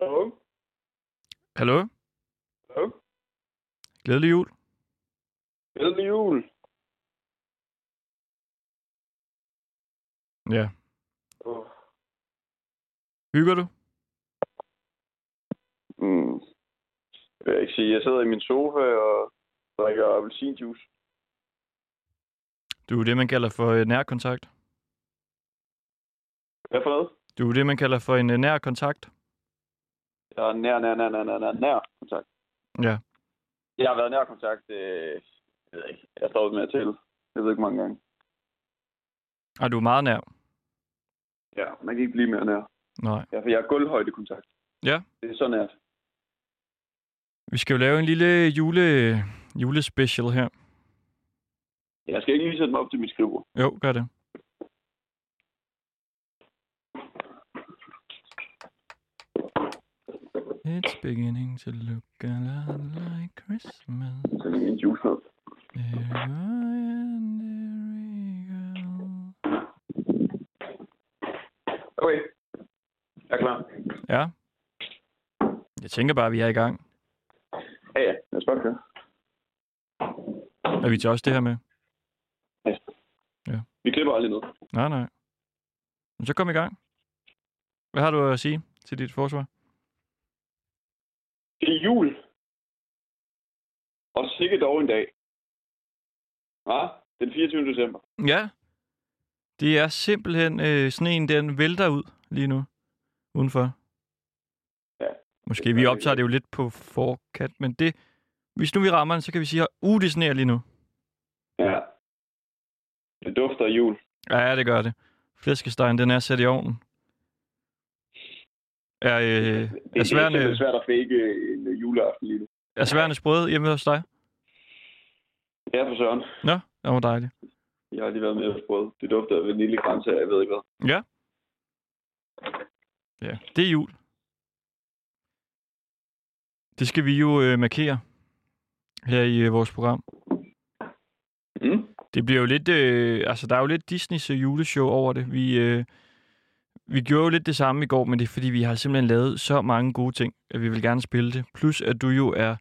Hallo? Hallo? Hallo? Glædelig jul. Glædelig jul. Ja. Åh. Hygger du? Mm. Jeg vil ikke sige, jeg sidder i min sofa og drikker appelsinjuice. Du er det, man kalder for øh, nærkontakt. Hvad for noget? Du er det, man kalder for en øh, nær kontakt. Jeg er nær, nær, nær, nær, nær, nær, nær kontakt. Ja. Jeg har været nær kontakt, øh, jeg ved ikke, jeg har stoppet med at tælle. Jeg ved ikke, hvor mange gange. Og du er meget nær. Ja, man kan ikke blive mere nær. Nej. Ja, for jeg er gulvhøjdekontakt. Ja. Det er så nært. Vi skal jo lave en lille jule, julespecial her. Jeg skal ikke lige sætte mig op til mit skrivebord. Jo, gør det. It's beginning to look a lot like Christmas. Så er det min juice med. There I am, there I go. Okay. Jeg er klar. Ja. Jeg tænker bare, at vi er i gang. Ja, ja. Lad os bare køre. Er vi til også det her med? Vi klipper aldrig noget. Nej, nej. Men så kom i gang. Hvad har du at sige til dit forsvar? Det er jul. Og sikke dog en dag. Hva? Den 24. december. Ja. Det er simpelthen øh, sneen, den vælter ud lige nu. Udenfor. Ja. Måske vi optager det jo lidt på forkant, men det... Hvis nu vi rammer den, så kan vi sige, at uh, det sneer lige nu. Ja. Det dufter af jul. Ja, ja, det gør det. Flæskestegen, den er sat i ovnen. Er, øh, det, er, det, sværene, er simpelthen svært at fake øh, en øh, juleaften lige nu. er sværene sprøde hjemme hos dig? Ja, for søren. Nå, det var dejligt. Jeg har lige været med på brød. Det dufter af vaniljegrænse, jeg ved ikke hvad. Ja, det er jul. Det skal vi jo øh, markere her i øh, vores program. Mm? Det bliver jo lidt, øh, altså der er jo lidt Disneys øh, juleshow over det. Vi, øh, vi gjorde jo lidt det samme i går, men det er fordi, vi har simpelthen lavet så mange gode ting, at vi vil gerne spille det. Plus at du jo er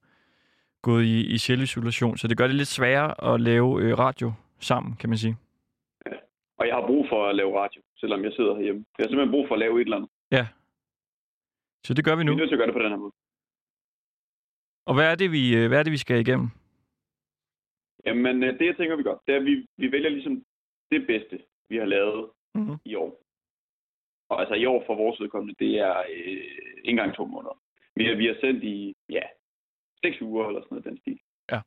gået i, i selvisolation, så det gør det lidt sværere at lave øh, radio sammen, kan man sige. Og jeg har brug for at lave radio, selvom jeg sidder herhjemme. Jeg har simpelthen brug for at lave et eller andet. Så det gør vi Vi er nu. nødt til at gøre det på den her måde. Og hvad er det, vi, øh, hvad er det, vi skal igennem? Jamen, øh, det jeg tænker, vi gør, det er, at vi, vi vælger ligesom det bedste, vi har lavet Mm-hmm. i år. Og altså i år for vores vedkommende, det er øh, ikke engang to måneder. Vi har, vi har sendt i, ja, seks uger eller sådan noget, den stil. Ja.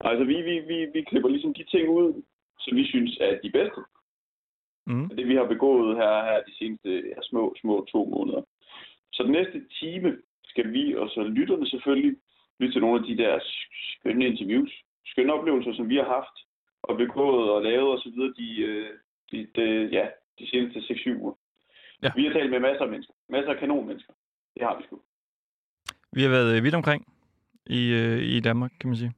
Og altså vi, vi, vi, vi klipper ligesom de ting ud, som vi synes er de bedste. Mm. Det vi har begået her, her de seneste ja, små, små to måneder. Så den næste time skal vi og så lytterne selvfølgelig lytte til nogle af de der skønne interviews, skønne oplevelser, som vi har haft og begået og lavet osv. De, øh, de, de, ja, de seneste 6-7 uger. Ja. Vi har talt med masser af mennesker. Masser af kanonmennesker. Det har vi sgu. Vi har været øh, vidt omkring i, øh, i Danmark, kan man sige.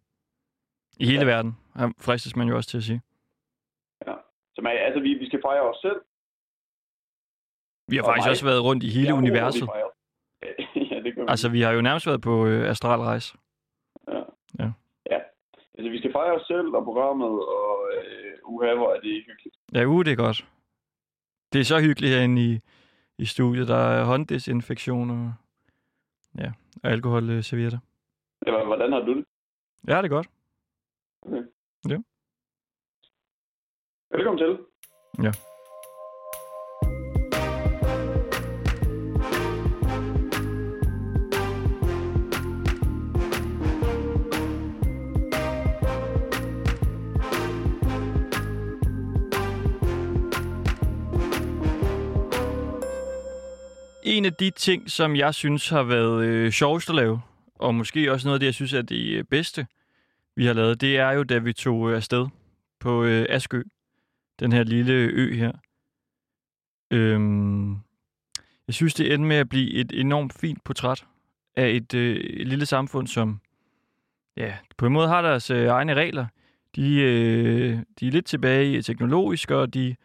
I hele Ja. ja. verden, har- fristes man jo også til at sige. Så man, altså, vi, vi skal fejre os selv. Vi har Og faktisk mig. også været rundt i hele Jeg ja, er universet. urolig fejret. ja, det kan man. Altså, vi har jo nærmest været på øh, astralrejse. altså, vi skal fejre os selv og programmet, og øh, uha, hvor er det hyggeligt. Ja, uh, det er godt. Det er så hyggeligt herinde i, i studiet. Der er hånddesinfektion og, ja, og alkoholservietter. Eller, hvordan har du det? Ja, det er godt. Velkommen til. En af de ting, som jeg synes har været øh, sjovest at lave, og måske også noget af det, jeg synes er det øh, bedste, vi har lavet, det er jo, da vi tog øh, afsted på øh, Askø. Den her lille ø her. Øhm, jeg synes, det endte med at blive et enormt fint portræt af et, øh, et lille samfund, som ja, på en måde har deres øh, egne regler. De, øh, de er lidt tilbage i teknologisk, og de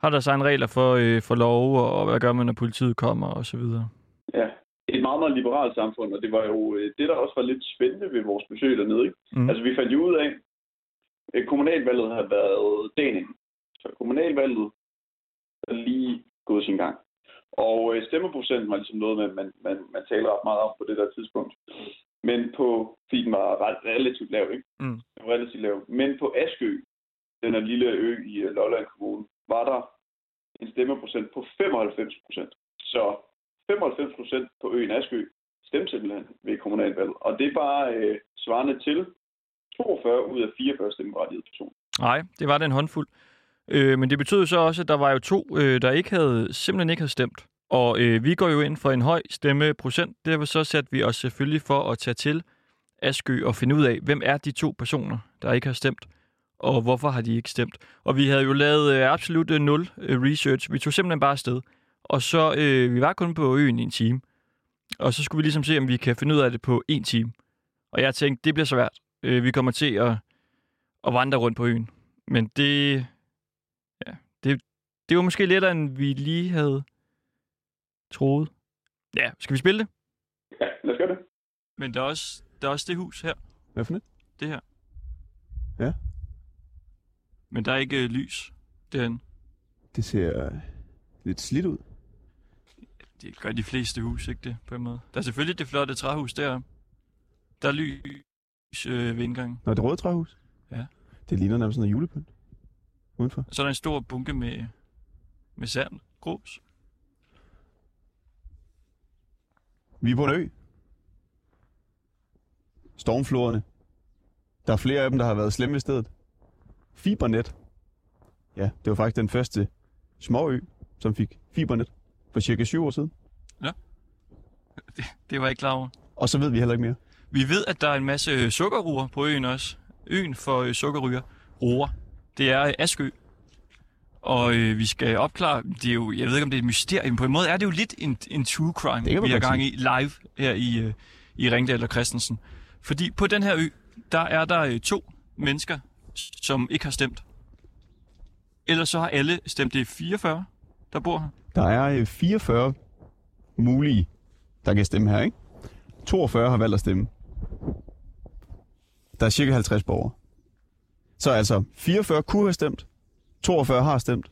har deres egne regler for, øh, for lov, og, og hvad gør man, når politiet kommer, og så videre. Ja. Et meget, meget liberalt samfund, og det var jo øh, det, der også var lidt spændende ved vores besøg dernede. Ikke? Mm. Altså, vi fandt jo ud af, at kommunalvalget har været dagen inden. Så kommunalvalget er lige gået sin gang. Og øh, stemmeprocenten var ligesom noget, man, man, man, man taler ret meget om på det der tidspunkt. Men på, fordi den var ret, relativt lav, ikke? Mm. Den var relativt lav. Men på Askø, den her lille ø i øh, Lolland Kommune, var der en stemmeprocent på 95 procent. Så 95 procent på øen Askø stemte simpelthen ved kommunalvalget. Og det var øh, svarende til 42 ud af 44 stemmeberettigede personer. Nej, det var den håndfuld. Øh, men det betød så også, at der var jo to, øh, der ikke havde, simpelthen ikke havde stemt. Og øh, vi går jo ind for en høj stemmeprocent. Derfor så satte vi os selvfølgelig for at tage til Askø og finde ud af, hvem er de to personer, der ikke har stemt, og hvorfor har de ikke stemt. Og vi havde jo lavet øh, absolut øh, nul øh, research. Vi tog simpelthen bare afsted. Og så, øh, vi var kun på øen i en time. Og så skulle vi ligesom se, om vi kan finde ud af det på en time. Og jeg tænkte, det bliver svært. Øh, vi kommer til at, at vandre rundt på øen. Men det, det var måske lidt, end vi lige havde troet. Ja, skal vi spille det? Ja, lad os gøre det. Men der er også, der er også det hus her, Hvad for det? det her. Ja. Men der er ikke øh, lys derinde. Det ser øh, lidt slidt ud. Det gør de fleste hus, ikke det, på en måde. Der er selvfølgelig det flotte træhus der. Der er lys øh, ved indgangen. Nå, det røde træhus? Ja. Det ligner nærmest noget julepynt. Udenfor. Og så er der en stor bunke med, med sand, grus. Vi er på en ø. Stormfloderne. Der er flere af dem, der har været slemme ved stedet. Fibernet. Ja, det var faktisk den første småø, som fik fibernet for cirka syv år siden. Det var jeg ikke klar over. Og så ved vi heller ikke mere. Vi ved, at der er en masse øh, sukkerruer på øen også. Øen for øh, sukkerryger. Ruer. Det er øh, Askø. Og øh, vi skal opklare, det er jo, jeg ved ikke om det er et mysterium, på en måde er det jo lidt en, en true crime, Det kan man vi har godt gang i live her i, øh, i Ringdal og Christensen. Fordi på den her ø, der er der øh, to mennesker, s- som ikke har stemt. Ellers så har alle stemt, det er 44, der bor her. Der er øh, 44 mulige, der kan stemme her, ikke? 42 har valgt at stemme. Der er cirka 50 borgere. Så altså, 44 kunne have stemt, 42 har stemt.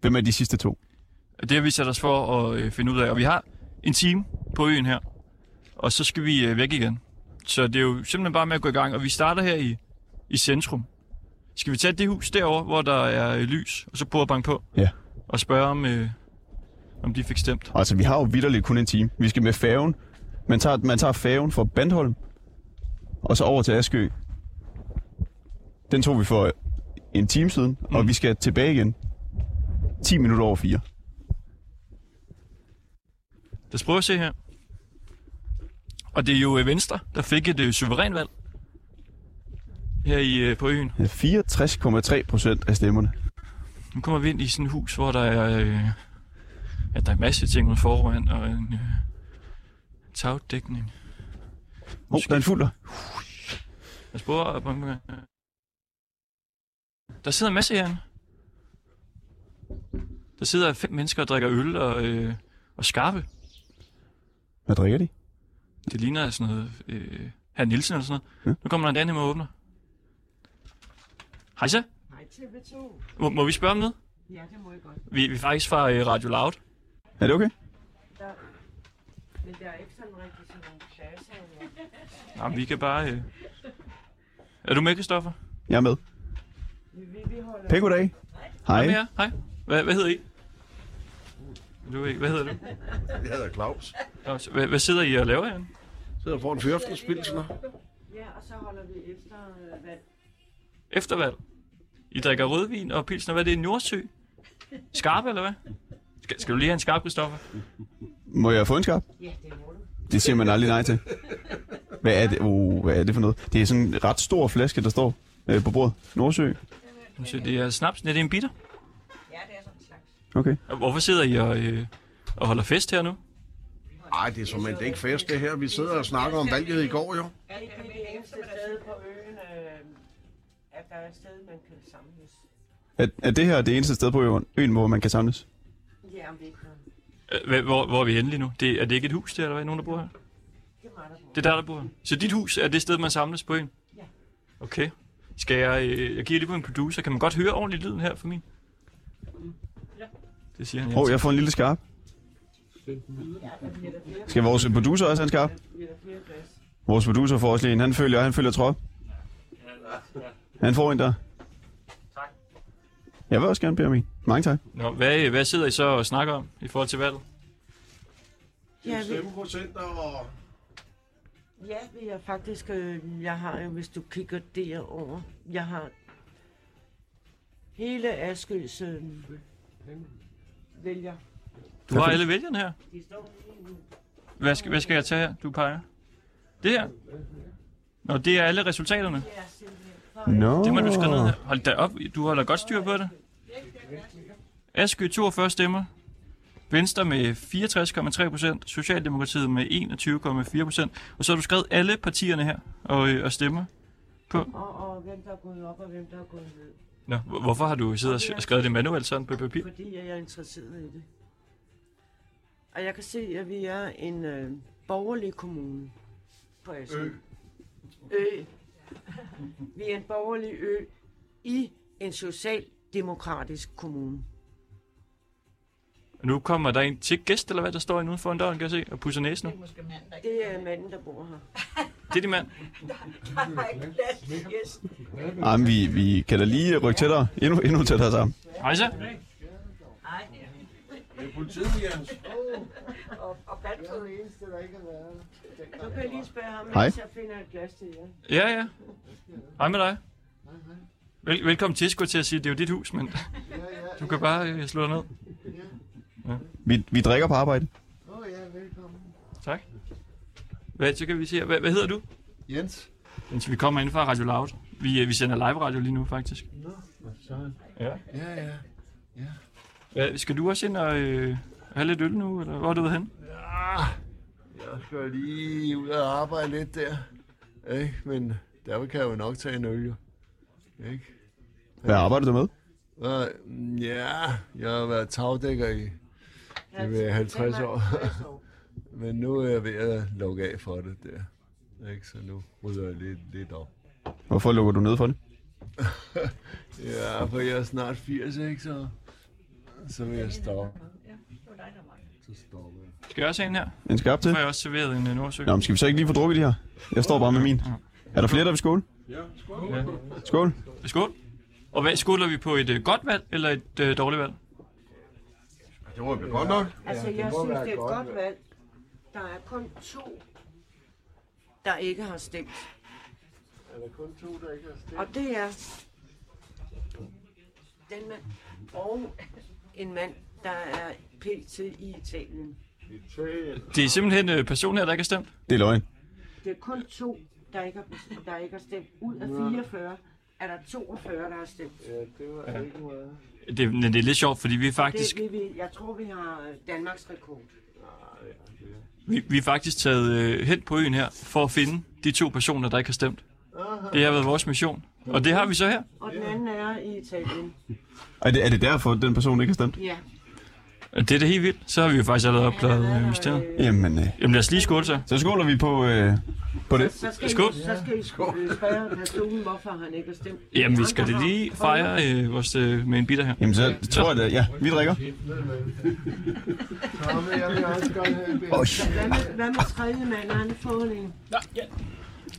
Hvem er de sidste to? Det har vi sat os for at øh, finde ud af, og vi har en time på øen her, og så skal vi øh, væk igen. Så det er jo simpelthen bare med at gå i gang, og vi starter her i, i centrum. Skal vi tage det hus derover, hvor der er øh, lys, og så prøve at banke på Ja. og spørge, om, øh, om de fik stemt? Altså, vi har jo vidderligt kun en time. Vi skal med færgen. Man tager, man tager færgen fra Bandholm, og så over til Askø. Den tog vi for en time siden, mm. og vi skal tilbage igen. 10 minutter over 4. Lad os prøve at se her. Og det er jo øh, Venstre, der fik et øh, suverænt valg her i, øh, på øen. 64,3 procent af stemmerne. Nu kommer vi ind i sådan et hus, hvor der er, øh, ja, der er en masse ting ude foran, og en øh, tagdækning. Oh, der er en fulder. Jeg spurgte, øh, banke på- der sidder en masse herinde. Der sidder fem mennesker og drikker øl og, øh, og skarpe. Hvad drikker de? Det ligner sådan noget, øh, herr Nielsen eller sådan noget. Ja. Nu kommer der en anden med og åbner. Hej så. Hej TV2. Må, må, vi spørge om noget? Ja, det må jeg godt. Vi, vi er faktisk fra øh, Radio Loud. Er det okay? Der... Men der er ikke sådan rigtig sådan nogle pladser. eller- Jamen, vi kan bare... Øh... Er du med, Kristoffer? Jeg er med. Vi, vi, vi holder... Pæk goddag. Hej. Hej. Hej. Hvad, hvad hedder I? Du er ikke. Hvad hedder du? Jeg hedder Claus. Claus, Hvad, hvad sidder I og laver herinde? Sidder foran fyraftenspilsner. Ja, og så holder vi efter øh, vand. Eftervalg. I drikker rødvin og pilsner. Hvad er det? Nordsø? Skarpe, eller hvad? Skal, skal du lige have en skarp, Kristoffer? Må jeg få en skarp? Ja, det må du. Det siger man aldrig nej til. Hvad er det, oh, hvad er det for noget? Det er sådan en ret stor flaske, der står øh, på bordet. Nordsø. Nu siger, det er snaps. Nej, det er en bitter. Ja, det er sådan en slags. Okay. Og Hvorfor sidder I og, øh, og holder fest her nu? Nej, det er som det er ikke fest, det her. Vi sidder og snakker om valget i går, jo. Er det ikke det eneste sted på øen, øh, at der er et sted, man kan samles? Er, er det her det eneste sted på øen, øen, hvor man kan samles? Ja, om vinteren. Hvor, Øh, hvor, hvor er vi henne lige nu? Det, er det ikke et hus, der eller hvad? Nogen, der bor her? Det er mig, der bor. Det er der, der bor her. Så dit hus er det sted, man samles på en? Ja. Okay. Skal jeg... Øh, jeg giver lige på en producer. Kan man godt høre ordentligt lyden her for min? Ja. Det siger han. Åh, oh, jeg får en lille skarp. Ja, der bliver der flere, Skal vores producer også have en skarp? der bliver der flere glas. Vores producer får også lige en. Han følger, han følger trop. Han får en der. Tak. Jeg vil også gerne bede om en. Mange tak. Nå, hvad, øh, hvad sidder I så og snakker om i forhold til valget? Ja, vi, Stemmeprocenter og... ja, vi er faktisk... Øh, jeg har jo, hvis du kigger derover, jeg har hele Askøs øh, vælger. Du har alle vælgerne her. De står lige nu. Hvad skal, hvad skal jeg tage her? Du peger. Det her? Nå, det er alle resultaterne. Ja, simpelthen. No. Det må du skrive ned her. Hold da op. Du holder godt styr på det. Askø 42 stemmer. Venstre med 64,3 procent. Socialdemokratiet med 21,4 procent. Og så har du skrevet alle partierne her og, øh, og stemmer. Og, og hvem der er gået op, og hvem der er gået ned. Nå, hvor- hvorfor har du siddet og skrevet det manuelt sådan på papir? Fordi jeg er interesseret i det. Og jeg kan se, at vi er en øh, borgerlig kommune på Asien. Ø. ø. Vi er en borgerlig ø i en socialdemokratisk kommune. Nu kommer der en til gæst, eller hvad, der står inde uden foran døren, kan jeg se, og pusser næsen nu. Måske mand, der ikke Det er manden, der bor her. Det er de mand. har ikke plads til gæsten. Ej, men vi, vi kan da lige rykke tættere. Endnu, endnu tættere sammen. Hej så. Nej, og, og bandt på det. Så kan jeg lige spørge ham, Hej. hvis jeg finder et glas til jer. Ja, ja. Hej med dig. Vel, velkommen til, skulle jeg til at sige, det er jo dit hus, men du kan bare øh, slå dig ned. Vi, vi drikker på arbejde. Hvad, så kan vi se, hvad, hvad hedder du? Jens? Jens, vi kommer ind fra Radio Loud. Vi, øh, vi sender live radio lige nu, faktisk. Ja, ja. Hvad, skal du også ind og øh, have lidt øl nu, eller hvor er du ude hen? Jeg skal lige ud og arbejde lidt der. Ikke? Men der kan jeg jo nok tage en øl, jo. Ikke? Hvad arbejder du med? Og, mm, ja, jeg har været tagdækker i, i ved 50 år. 50 år. Men nu er jeg ved at lukke af for det der. Ikke? Så nu rydder jeg lidt, lidt op. Hvorfor lukker du ned for det? Ja, for jeg er snart 80, ikke? Så, så vil jeg stoppe. Ja, det var dig, der var. Så stopper jeg. Skal jeg også have en her? En skarp Så til? får jeg også serveret en øh, Nordsø. Nå, men skal vi så ikke lige få drukket de her? Jeg står bare med min. Er der flere, der vil skåle? Ja. Skål. Skål. Og hvad, skåler vi på et øh, godt valg, eller et øh, dårligt valg? Det var vel godt nok. Altså, det jeg må synes, være det er et godt godt valg. Der er kun to, der ikke har stemt. Er der kun to, der ikke har stemt? Og det er den mand og en mand, der er pt. i Italien. Det er simpelthen øh, personen her, der ikke er stemt. Det er løgn. Det er kun to, der ikke har, der ikke har stemt. Ud af 44 er der 42, der har stemt. Ja, det var ja. ikke meget. Det, men det er lidt sjovt, fordi vi er faktisk, Det, vi, vi, jeg tror, vi har øh, Danmarks rekord. vi, vi er faktisk taget øh, hen på øen her, for at finde de to personer, der ikke har stemt. Det har været vores mission. Og det har vi så her. Og den anden er i Italien. Er det, er det derfor, den person ikke har stemt? Ja. Og det er da helt vildt. Så har vi jo faktisk allerede Han har opklaret øh, været der, mysteriet. øh, Jamen, øh, Jamen lad os lige skåle så. så skåler vi på, øh, på det. Så skal Skål. I, så skal I øh, spørge personen, hvorfor han ikke har stemt. Jamen vi Andre skal da har- lige fejre øh, vores øh, med en bitter her. Jamen, så tror jeg da. Ja, vi drikker. Tomme, jeg vil også godt have en bid. Åh, Hvad med, hvad med tredje mand? Har han fået en?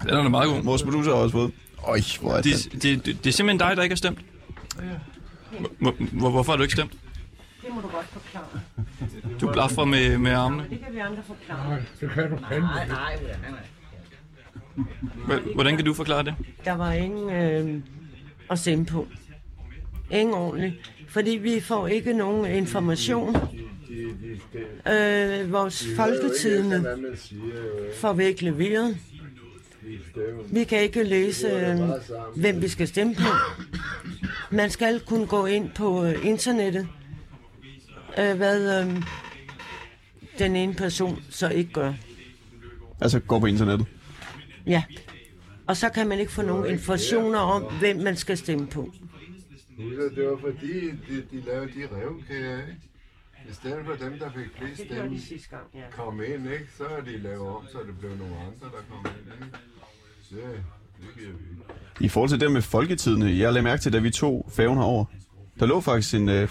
Den er da meget god. vores producer har også fået. Øj, hvor er det. Det, det, det, det er simpelthen dig, der ikke har stemt. Hvor, hvor, hvorfor har du ikke stemt? Det må du godt forklare. Du blaffer med, med armene. Men det kan vi andre forklare. Nej, nej, nej, nej. Hva- Hvordan kan du forklare det? Der var ingen øh, at sende på. Ingen ordentligt. Fordi vi får ikke nogen information. Øh, vores folketidene Hvad man siger, jo, ikke? får vi ikke leveret. I stemmen. Vi kan ikke læse, øh, hvem vi skal stemme på. Man skal kunne gå ind på øh, internettet, øh, hvad øh, den ene person så ikke gør. Altså, går på internettet. Ja. Og så kan man ikke få nogen informationer om, hvem man skal stemme på. Husk, at Det var fordi, de, de lavede de revkager, ikke? I stedet for dem, der fik flest Det gjorde stemme, de sidste gang, ja. kom ind, ikke? Så er de lavet om, så det blev nogle andre, der kom ind, ikke? Ja, det giver vi. I forhold til det med folketidene, jeg lagde mærke til, da vi tog færgen herover, der lå faktisk en, øh,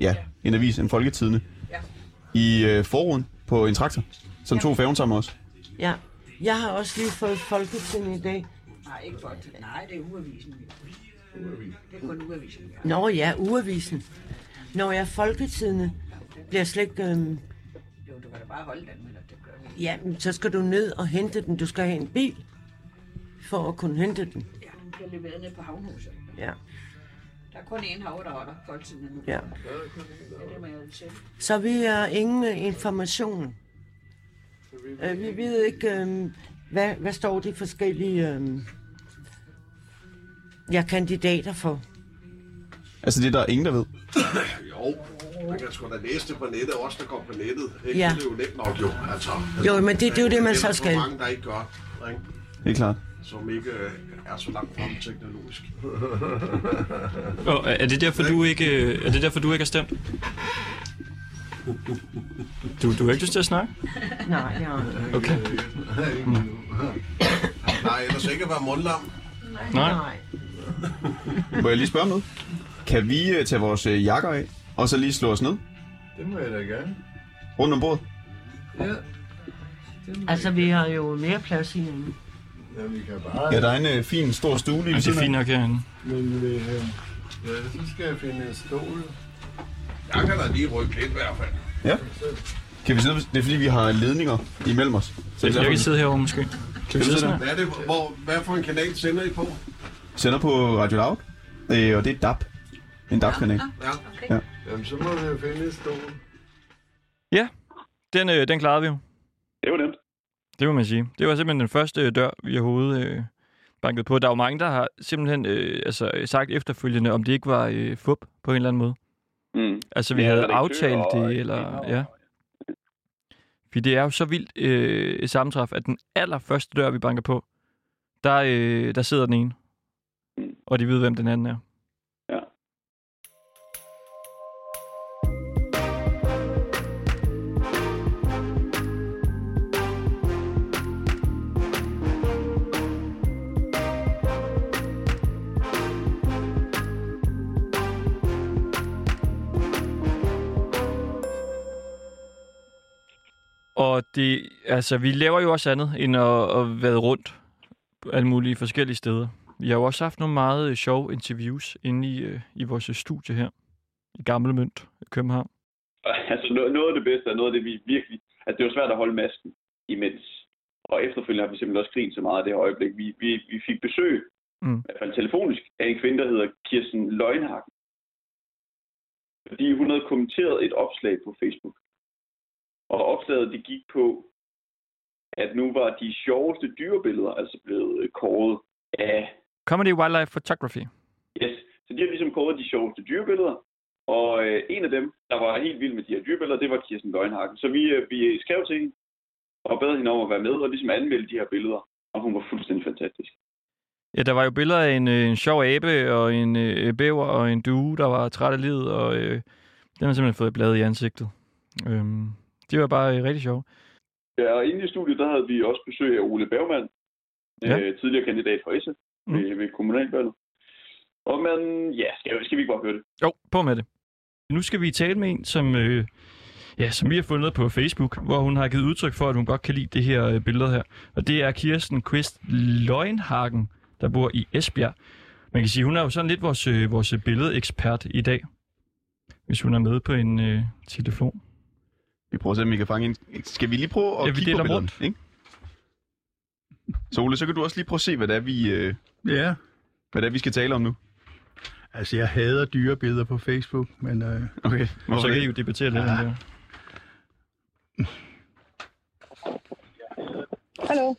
ja, en avis, en folketidene, i øh, forruden på en traktor, som tog færgen sammen med os. ja. Jeg har også lige fået folketinget i dag. Nej, ikke folk. Nej, det er uavisen. Det er kun uavisen. Ja. Nå ja, uavisen. Når jeg folketidene bliver slet ikke... Øhm, Jo, du kan da bare holde den, men det gør vi. ikke. ja, men så skal du ned og hente den. Du skal have en bil for at kunne hente den. Ja, den bliver leveret ned på havnhuset. Ja. Der er kun én hav, der holder folketiden nu. Ja. Ja, det må jeg jo sige. Så vi har ingen øh, information. Øh, vi ved ikke, øhm, hvad, hvad står de forskellige øhm, ja, kandidater for. Altså det er der ingen, der ved. Jo, man kan sgu da læse det på nettet, også der går på nettet. Ikke? Ja. Det er jo nemt nok, jo. Altså, Jo, men det, det er jo det, man så skal. Der er mange, der ikke gør, ikke? Det er klart. som ikke øh, er så langt frem teknologisk. Og er er det derfor, du ikke, øh, er det derfor, du ikke har stemt? Du, du har ikke lyst til at snakke? Nej, ja. Øh, Nej, ellers ikke at være mundlam. Nej. Nej. Må jeg lige spørge om noget? Kan vi øh, tage vores øh, jakker af, og så lige slå os ned Det må jeg da gerne. rundt om bordet? Ja. Altså, vi har jo mere plads herinde. Ja, vi kan bare... Ja, der er en øh, fin, stor stue lige Men ved det er fint siden af. nok herinde. Men øh, ja, så skal jeg finde en stol. Jeg kan da lige rykke lidt i hvert fald. Kan vi sidde? ved- Det er fordi, vi har ledninger imellem os. Så Jeg kan sidde herovre måske. Kan vi sidde sådan her? Hvad, er det, hvor, hvad for en kanal sender I på? sender på Radio Loud, øh, og det er DAP. En DAP-kanal. Ja. Jamen, så må vi jo finde en stol. Den, øh, den klarede vi jo. Det var nemt. Det må man sige. Det var simpelthen den første øh, dør, vi overhovedet øh, banket på. Der er jo mange, der har simpelthen øh, altså, øh, sagt efterfølgende, om det ikke var øh, fup på en eller anden måde. Mm. Altså, vi Ja, ja, havde redaktører aftalt og- det, eller... og- Ja. Fordi det er jo så vildt øh, et sammentræf, at den allerførste dør, vi banker på, der, øh, der sidder den ene. Mm. Og de ved, hvem den anden er. Ja. Og det, altså, vi laver jo også andet, end at, at være rundt på alle mulige forskellige steder. Vi har jo også haft nogle meget øh, sjove interviews inde i, øh, i vores øh, studie her. I Gamle Mønt, i København. Altså noget, noget af det bedste er noget af det, vi virkelig... Altså det var svært at holde masken imens. Og efterfølgende har vi simpelthen også grint så meget af det her øjeblik. Vi, vi, vi fik besøg, Mm. mm. i hvert fald telefonisk, af en kvinde, der hedder Kirsten Løgnhakken. Fordi hun havde kommenteret et opslag på Facebook. Og opslaget det gik på, at nu var de sjoveste dyrebilleder altså blevet øh, kåret af Comedy Wildlife Photography. Yes, så de har ligesom kåret de sjoveste dyrebilleder, og øh, en af dem, der var helt vild med de her dyrebilleder, det var Kirsten Løgnhakken. Så vi, øh, vi skrev til hende og bad hende om at være med og ligesom anmelde de her billeder, og hun var fuldstændig fantastisk. Ja, der var jo billeder af en, øh, en sjov abe, og en øh, bæver, og en due, der var træt af livet, og øh, den har simpelthen fået blade i ansigtet. Øhm, det var bare øh, rigtig sjovt. Ja, og inde i studiet, der havde vi også besøg af Ole Bergmann, Ja. ja. øh, tidligere kandidat for SF Mm. mm. ved, ved kommunalvalget. Og man, ja, skal, skal vi ikke bare høre det? Jo, på med det. Nu skal vi tale med en, som, øh, ja, som vi har fundet på Facebook, hvor hun har givet udtryk for, at hun godt kan lide det her øh, billede her. Og det er Kirsten Quist Løgnhagen, der bor i Esbjerg. Man kan sige, hun er jo sådan lidt vores, øh, vores billedekspert i dag, hvis hun er med på en øh, telefon. Vi prøver at se, om vi kan fange en. Skal vi lige prøve at Ja, vi kigge deler på billederne, rundt. Ikke? Så Ole, så kan du også lige prøve at se, hvad det er, vi, øh, Ja, hvad det er, vi skal tale om nu. altså jeg hader dyrebilleder på Facebook, men øh, Okay. Så kan I jo debattere lidt om det. Hallo.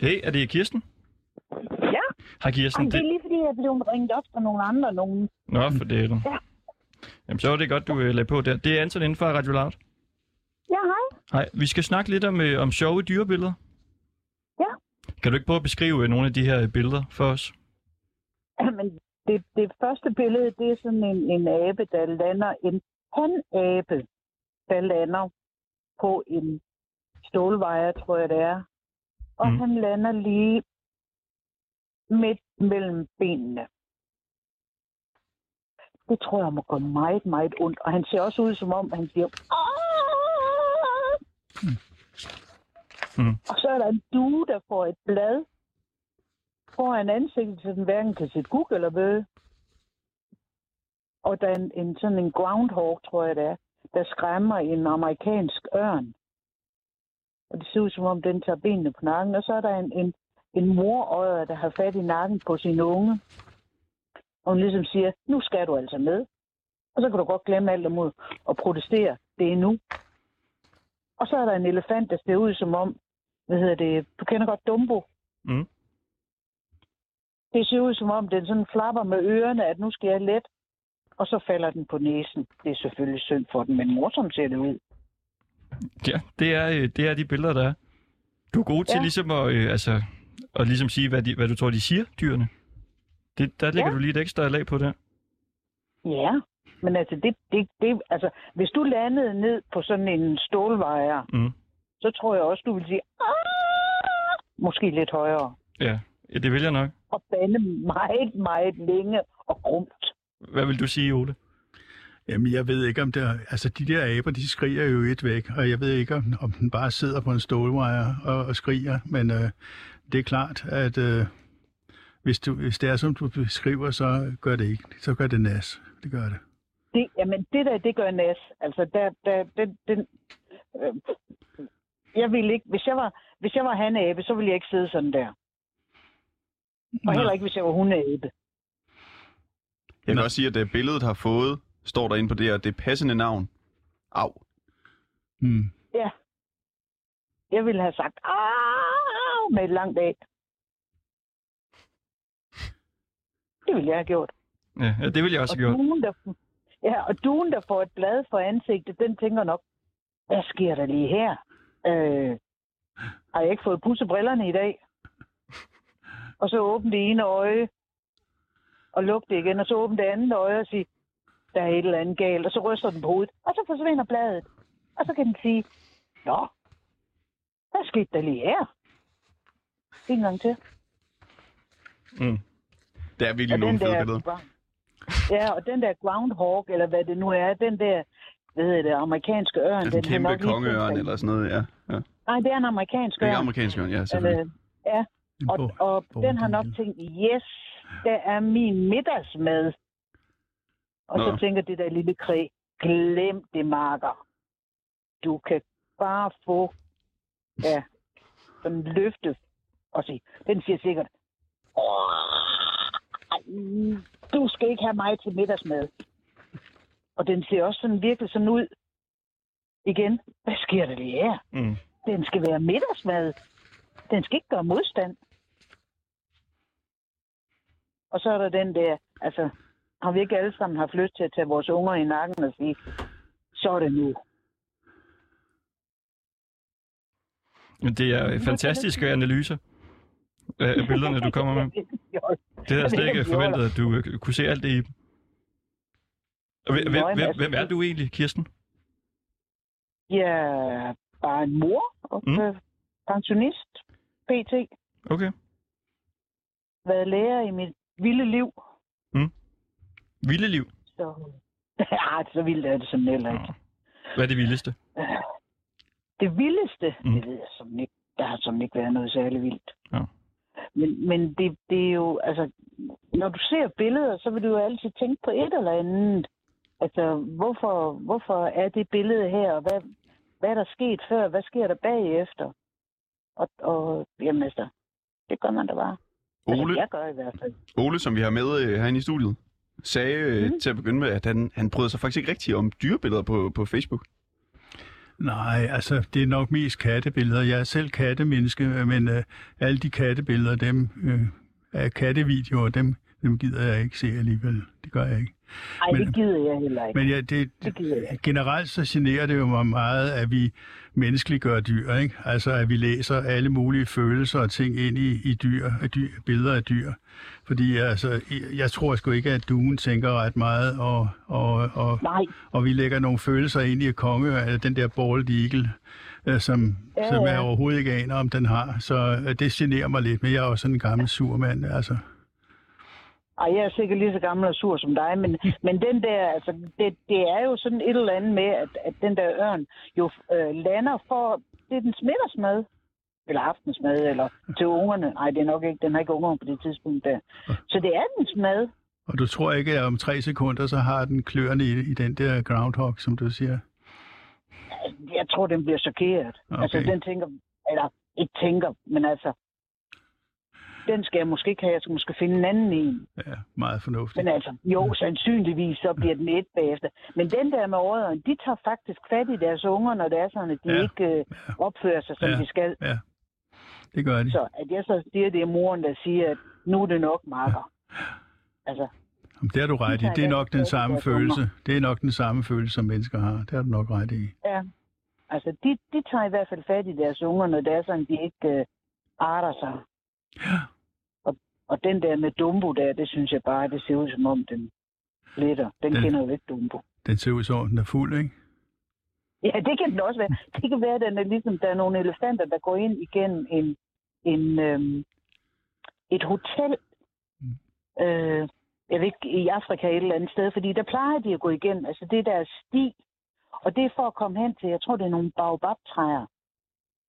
Hey, er det Kirsten? Ja, Hej Kirsten. Jamen, det er Det... Mm. lige fordi, jeg blev ringet op fra nogle andre nogen. Nå, for det er du. Ja. Jamen, så var det godt, du øh, lagde på der. Det er Anton inden for Radio Loud. Ja, hej. Hej, vi skal snakke lidt om, øh, om sjove dyrebilleder. Ja. Kan du ikke prøve at beskrive øh, nogle af de her øh, billeder for os? Jamen, det, det første billede, det er sådan en, en abe, der lander. En hanabe der lander på en stålvejer, tror jeg det er. Og Mm. mm. han lander lige midt mellem benene. Det tror jeg må gå meget, meget ondt. Og han ser også ud, som om han siger... "Aah!" Mm. Og så er der en due, der får et blad foran ansigtet, så den hverken kan se guk eller bøge. Og der er en, en, sådan en groundhog, tror jeg det er, der skræmmer en amerikansk ørn. Og det ser ud som om, den tager benene på nakken. Og så er der en, en, en morøjer, der har fat i nakken på sin unge. Og hun ligesom siger, nu skal du altså med. Og så kan du godt glemme alt om ud og protestere. Det er nu. Og så er der en elefant, der ser ud som om, hvad hedder det, du kender godt Dumbo. Mm. Det ser ud som om, den sådan flapper med ørerne, at nu skal jeg let. Og så falder den på næsen. Det er selvfølgelig synd for den, men morsomt ser det ud. Ja, det er, øh, det er de billeder, der er. Du er god til Ja. ligesom at, øh, altså, at ligesom sige, hvad, de, hvad du tror, de siger, dyrene. Det, der lægger Ja. du lige et ekstra lag på der. Ja, men altså, det, det, det, altså, hvis du landede ned på sådan en stålvejer, Mm. så tror jeg også, du vil sige, "Ah!" måske lidt højere, Ja. ja, det vil jeg nok. og bande meget, meget længe og grumt. Hvad vil du sige, Ole? Jamen, jeg ved ikke, om der... Altså, de der aber, de skriger jo et væk, og jeg ved ikke, om, om den bare sidder på en stålvejer og, og skriger, men øh, det er klart, at øh, hvis, du, hvis det er, som du beskriver, så gør det ikke. Så gør det nas. Det gør det. Det, jamen, det der, det gør næs. Altså, der, der, den, den, øh, jeg ville ikke, hvis jeg var, hvis jeg var hanæbe, så ville jeg ikke sidde sådan der. Og heller ikke, hvis jeg var hundeæbe. Jeg kan også sige, at det billedet har fået, står der inde på det her, det passende navn. Au. Mm. Ja. Jeg ville have sagt, "Au!" med et langt æg. Det ville jeg have gjort. Ja, ja det vil jeg også Og have gjort. duen, der, ja, og duen, der får et blad for ansigtet, den tænker nok, hvad sker der lige her? Øh, har jeg ikke fået pudset brillerne i dag? Og så åbne det ene øje, og lukke det igen, og så åbne det andet øje og sige, der er et eller andet galt, og så ryster den på hovedet, og så forsvinder bladet. Og så kan den sige, nå, hvad skete der lige her? En gang til. Mm. Det er virkelig nogle fede billeder. ground- Ja, og den der groundhog, eller hvad det nu er, den der, hvad hedder det, amerikanske ørn. Altså en har nok kæmpe lige kongeørn tilfaldet. eller sådan noget, ja. ja. Nej, det er en amerikansk Ikke ørn. amerikansk ørn, ja, selvfølgelig. Eller, ja, En og, bog- og bog- den har bog- nok tænkt, yes, der er min middagsmad. Og Nå. så tænker det der lille kræ, glem det, marker. Du kan bare få ja, sådan en løfte og sige, den siger sikkert, "Ej, du skal ikke have mig til middagsmad. Og den ser også sådan virkelig sådan ud. Igen, hvad sker der lige her? Mm. Den skal være middagsmad. Den skal ikke gøre modstand. Og så er der den der, altså, har vi ikke alle sammen haft lyst til at tage vores unger i nakken og sige, så er det nu. Men Det er øh, fantastiske analyser øh, af af billederne, du kommer med. Det havde jeg Jeg ved slet ikke, ikke om de holder. forventet, at du øh, kunne se alt det i dem. Og hvem, Nå, hvem, jamen, hvem, altså, hvem er du egentlig, Kirsten? Ja, bare en mor og Mm. mm. pensionist, pt. Okay. Været lærer i mit vilde liv. Vilde liv. Så, ja, så vildt er det som heller ikke. Nå. Hvad er det vildeste? Det vildeste, Mm. mm. det ved jeg som ikke, der har som ikke været noget særlig vildt. Ja. Men, men det, det er jo, altså, når du ser billeder, så vil du jo altid tænke på et eller andet. Altså, hvorfor, hvorfor er det billede her, og hvad, hvad er der sket før, hvad sker der bagefter? Og, og jamen altså, det gør man da bare. Ole? Altså, Mhm. jeg gør i hvert fald. Ole, som vi har med øh, herinde i studiet, sagde øh, til at begynde med, at han, han bryder sig faktisk ikke rigtigt om dyrebilleder på, på Facebook. Nej, altså, det er nok mest kattebilleder. Jeg er selv kattemenneske, men øh, alle de kattebilleder, dem øh, er kattevideoer, dem, dem gider jeg ikke se alligevel. Det gør jeg ikke. Ej, Men- det gider jeg heller ikke. Men ja, det, Det gider jeg generelt så generer det jo mig meget, at vi menneskeliggøre dyr, ikke? Altså, at vi læser alle mulige følelser og ting ind i, i dyr, af dyr, billeder af dyr. Fordi altså, jeg tror sgu ikke, at duen tænker ret meget, og, og, og, Nej, og vi lægger nogle følelser ind i konge, eller den der bald eagle, øh, som, ja, Ja, ja. som jeg ja. overhovedet ikke aner, om den har. Så øh, det generer mig lidt, men jeg er også sådan en gammel surmand, altså. Ej, jeg er sikkert lige så gammel og sur som dig, men, men den der, altså, det, det er jo sådan et eller andet med, at, at den der ørn jo øh, lander for det, den smitters med. Eller aftensmad, eller til ungerne. Nej, det er nok ikke. Den har ikke unger på det tidspunkt der. Så det er dens mad. Og du tror ikke, at om tre sekunder, så har den kløerne i, i den der groundhog, som du siger? Altså, Jeg tror, den bliver chokeret. Okay. Okay. Altså, den tænker, eller ikke tænker, men altså, den skal jeg måske ikke have. Jeg skal måske finde en anden en. Ja, meget fornuftigt. Men altså, jo, sandsynligvis, så bliver den et bagefter. Men den der med ådderen, de tager faktisk fat i deres unger, når det er sådan, at de Ja. ja. ikke øh, opfører sig, som Ja. ja. de skal. Det gør de. Så at jeg så siger, det er moren, der siger, at nu er det nok, makker. Altså, Jamen, det har du ret i. Det er nok den samme følelse. Det er nok den samme følelse, som mennesker har. Det har du nok ret i. ja. Altså, de, de tager i hvert fald fat i deres unger, når det er sådan, de ikke øh, arter sig. Ja. Og, og den der med Dumbo der, det synes jeg bare, det ser ud som om, den letter. Den Den- kender jo ikke Dumbo. Den ser ud som om, den er fuld, ikke? Ja, det kan den også være. Det kan være, at den er ligesom, der er nogle elefanter, der går ind igennem en, en, øhm, et hotel. Mm. Øh, jeg ved ikke, i Afrika et eller andet sted, fordi der plejer de at gå igennem. Altså, det der sti, og det er for at komme hen til, jeg tror, det er nogle baobabtræer,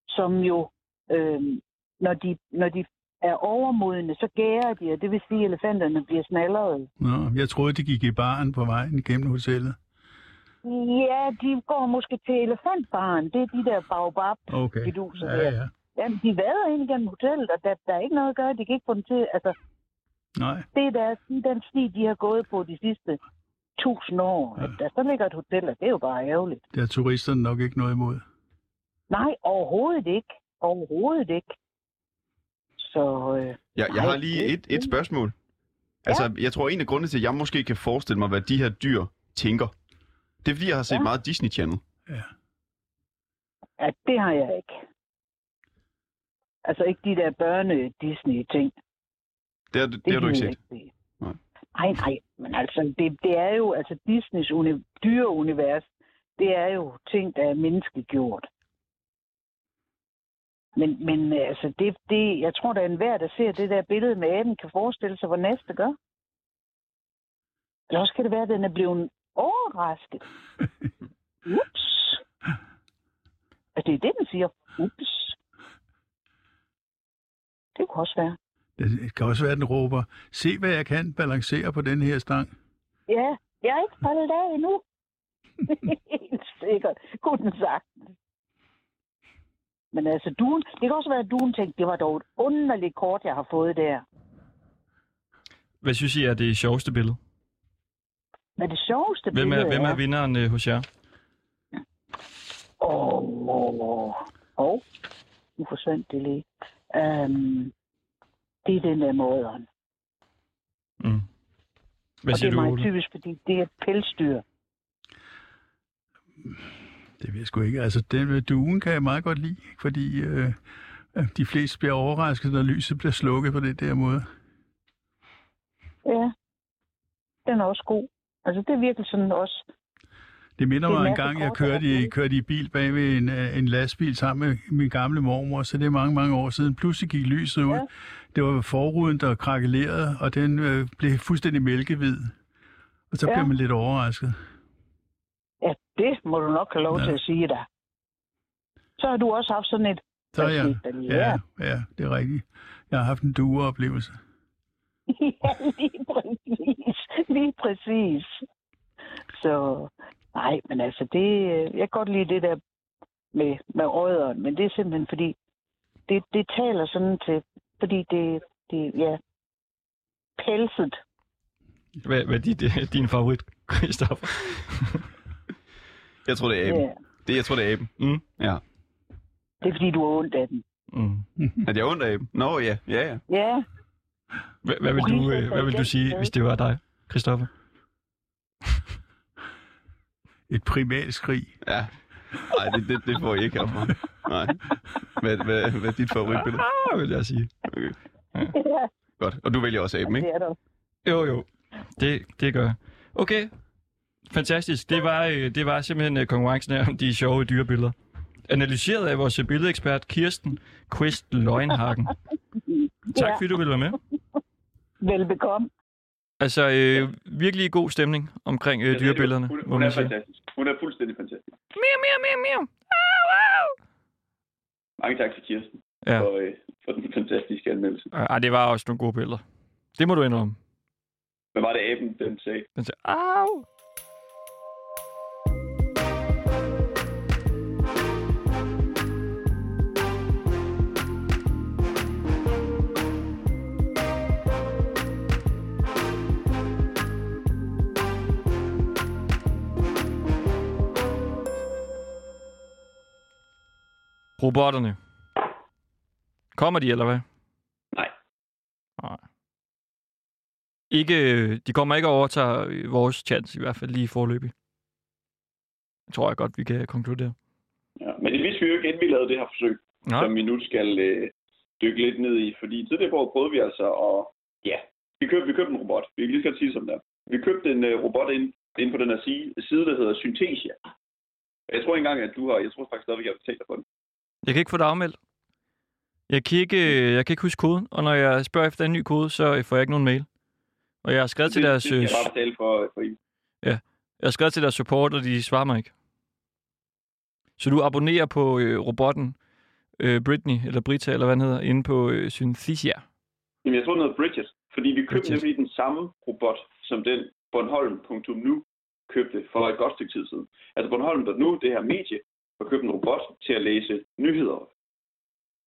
som jo, øhm, når, de, når de er overmodende, så gærer de, og det vil sige, at elefanterne bliver snallerede. Nå, jeg troede, det gik i baren på vejen igennem hotellet. Ja, de går måske til elefantbaren. Det er de der baobab Okay. Fiduser Ja, der. ja. Jamen, de vader ind igennem hotellet, og der, der er ikke noget at gøre. De kan ikke få dem til... Altså, Nej, det er deres, den sti, de har gået på de sidste tusind år. Ja. Ja. Der så ligger et hotel, og det er jo bare ærgerligt. det har turisterne nok ikke noget imod. Nej, overhovedet ikke. Overhovedet ikke. Så øh, Jeg, jeg har lige det- et, et spørgsmål. Altså, jeg tror, en af grundene til, at jeg måske kan forestille mig, hvad de her dyr tænker, det er, fordi jeg har set Ja. meget Disney Channel. ja, det har jeg ikke. Altså ikke de der børne-Disney-ting. Det har, det, det har du ikke gider set. jeg se. Nej. Nej, nej, men altså, det, det er jo, altså Disneys uni- dyreunivers, det er jo ting, der er menneskegjort. Men, men øh, altså, det, det, jeg tror, der er enhver, der ser det der billede med aben, kan forestille sig, hvor næste gør. Eller også kan det være, at den er blevet overrasket. Ups. Altså, det er det, den siger. Ups. Det kunne også være. Det kan også være, at den råber, se hvad jeg kan balancere på den her stang. Ja, jeg er ikke faldet af endnu. Helt sikkert. Kunne den sagtens. Men altså, duen, det kan også være, at duen tænkte, det var dog et underligt kort, jeg har fået der. Hvad synes I er det sjoveste billede? Men det sjoveste Hvem er, billede hvem er vi? vinderen øh, hos jer? Åh, oh, oh, oh. nu forsvandt det lige. Um, det er den der måderen. Hvad Og det siger er du, meget Ole? typisk, fordi det er et pelsdyr. Det ved jeg sgu ikke. Altså, den med duen kan jeg meget godt lide, fordi øh, de fleste bliver overrasket, når lyset bliver slukket på den der måde. Ja, den er også god. Altså, det er virkelig sådan også Det minder Det er mig en en masse gang, jeg kort, der er kørte i, glemt. kørte i bil bag ved en, øh, en lastbil sammen med min gamle mormor, så det er mange, mange år siden. Pludselig gik lyset ud. Ja. Det var forruden, der krakelerede, og den øh, blev fuldstændig mælkehvid. Og så Ja. blev man lidt overrasket. Ja, det må du nok have lov Ja. ja. til at sige dig. Så har du også haft sådan et... Så Hvad jeg, skete der lige ja, her? ja, det er rigtigt. Jeg har haft en dueoplevelse. ja, lige præcis. Lige præcis. Så nej, men altså det... øh, Jeg kan godt lide det der med, med rødderen, men det er simpelthen fordi, det, det taler sådan til, fordi det, det ja, pelset. Hvad, hvad er dit, øh, din favorit, Christoffer? Jeg tror, det er aben. Ja. Det, jeg tror, det er aben. Mm. Ja. Det er fordi, du har ondt af den. Mm. Er det ondt af aben? Nå, ja. Ja, ja. Ja, Hvad, hvad, vil du, øh, hvad vil du sige, hvis det var dig, Christoffer? Et primalskrig. ja. Nej, det, det, det får I ikke herfra. Nej. Hvad, hvad, hvad er dit favoritbillede? Ah, vil jeg sige. Okay. ja, Godt. Og du vælger også aben, ikke? det er der. Jo, jo. Det, det gør jeg. Okay. Fantastisk. Det var, øh, det var simpelthen øh, konkurrencen her om de sjove dyrebilleder. Analyseret af vores øh, billedekspert Kirsten Quist Løgnhagen. Tak Ja. fordi du ville være med. Velbekomme. Altså, øh, virkelig god stemning omkring øh, dyrebillederne, Hun, må hun er man sige. fantastisk. Hun er fuldstændig fantastisk. Miau, miau, miau, miau. Mange tak til Kirsten Ja. for, øh, for den fantastiske anmeldelse. Ej, det var også nogle gode billeder. Det må du indrømme. Hvad var det, aben den sagde? Den Ah, siger, au! Robotterne. Kommer de, eller hvad? Nej. Nej. Ikke, øh, de kommer ikke og overtager øh, vores chance, i hvert fald lige forløbig. Det tror jeg godt, vi kan konkludere. Ja. Men det vidste vi jo ikke, inden vi lavede det her forsøg, Nå, som vi nu skal øh, dykke lidt ned i. Fordi tidligere på året prøvede vi altså at... Ja, vi købte, vi købte en robot. Vi kan lige så godt sige som der. Vi købte en øh, robot ind, ind på den her side, side, der hedder Synthesia. Jeg tror ikke engang, at du har... Jeg tror faktisk stadigvæk, jeg har betalt dig for den. jeg kan ikke få det afmeldt. Jeg kan, ikke, øh, jeg kan ikke huske koden, og når jeg spørger efter en ny kode, så øh, får jeg ikke nogen mail. Og jeg har skrevet til det, deres, det skal øh, jeg bare betale for, for I. jeg har skrevet til deres support, og de svarer mig ikke. Så du abonnerer på øh, robotten øh, Britney, eller Brita, eller hvad den hedder, inde på øh, Synthesia. Jamen, jeg tror, den hedder Bridget. Fordi vi købte Bridget. nemlig den samme robot, som den Bornholm.nu købte for et godt stykke tid siden. Altså Bornholm.nu, det her medie, har købt en robot til at læse nyheder.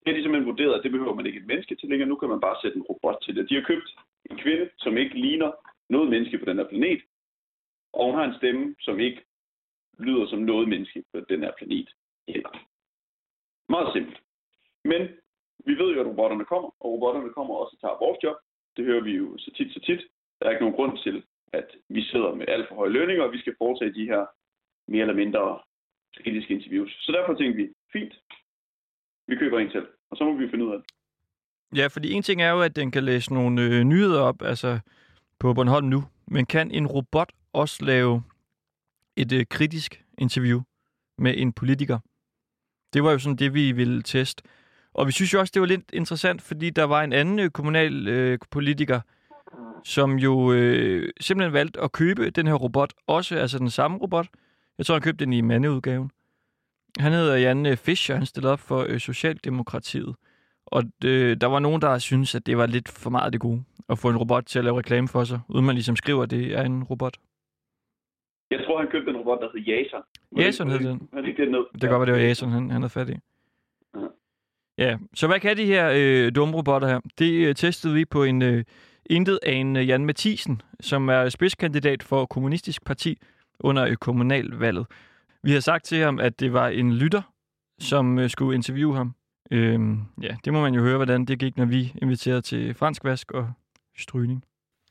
Det har de simpelthen vurderet, at det behøver man ikke et menneske til længere. Nu kan man bare sætte en robot til det. De har købt en kvinde, som ikke ligner noget menneske på den her planet. Og hun har en stemme, som ikke lyder som noget menneske på den her planet heller. Meget simpelt. Men vi ved jo, at robotterne kommer, og robotterne kommer også og tager vores job. Det hører vi jo så tit, så tit. Der er ikke nogen grund til, at vi sidder med alt for høje lønninger, og vi skal foretage de her mere eller mindre kritiske interviews. Så derfor tænkte vi, fint, vi køber en til, og så må vi finde ud af det. Ja, fordi en ting er jo, at den kan læse nogle øh, nyheder op, altså på Bornholm nu. Men kan en robot også lave et øh, kritisk interview med en politiker? Det var jo sådan det, vi ville teste. Og vi synes jo også, det var lidt interessant, fordi der var en anden øh, kommunal øh, politiker, som jo øh, simpelthen valgte at købe den her robot, også altså den samme robot. Jeg tror, han købte den i mandeudgaven. Han hedder Jan øh, Fischer, han stillede op for øh, Socialdemokratiet. Og øh, der var nogen, der synes, at det var lidt for meget af det gode at få en robot til at lave reklame for sig, uden man ligesom skriver, at det er en robot. Jeg tror, han købte en robot, der hed Jason. Var det- Jason hed den. Var det ikke det, den hed? Det kan godt være, det var Jason, han, han havde fat i. Ja. Ja, så hvad kan de her øh, dumme robotter her? Det øh, testede vi på en øh, intet af en øh, Jan Mathisen, som er spidskandidat for Kommunistisk Parti under øh, kommunalvalget. Vi har sagt til ham, at det var en lytter, som øh, skulle interviewe ham. Øhm, ja, det må man jo høre, hvordan det gik, når vi inviterede til fransk vask og strygning.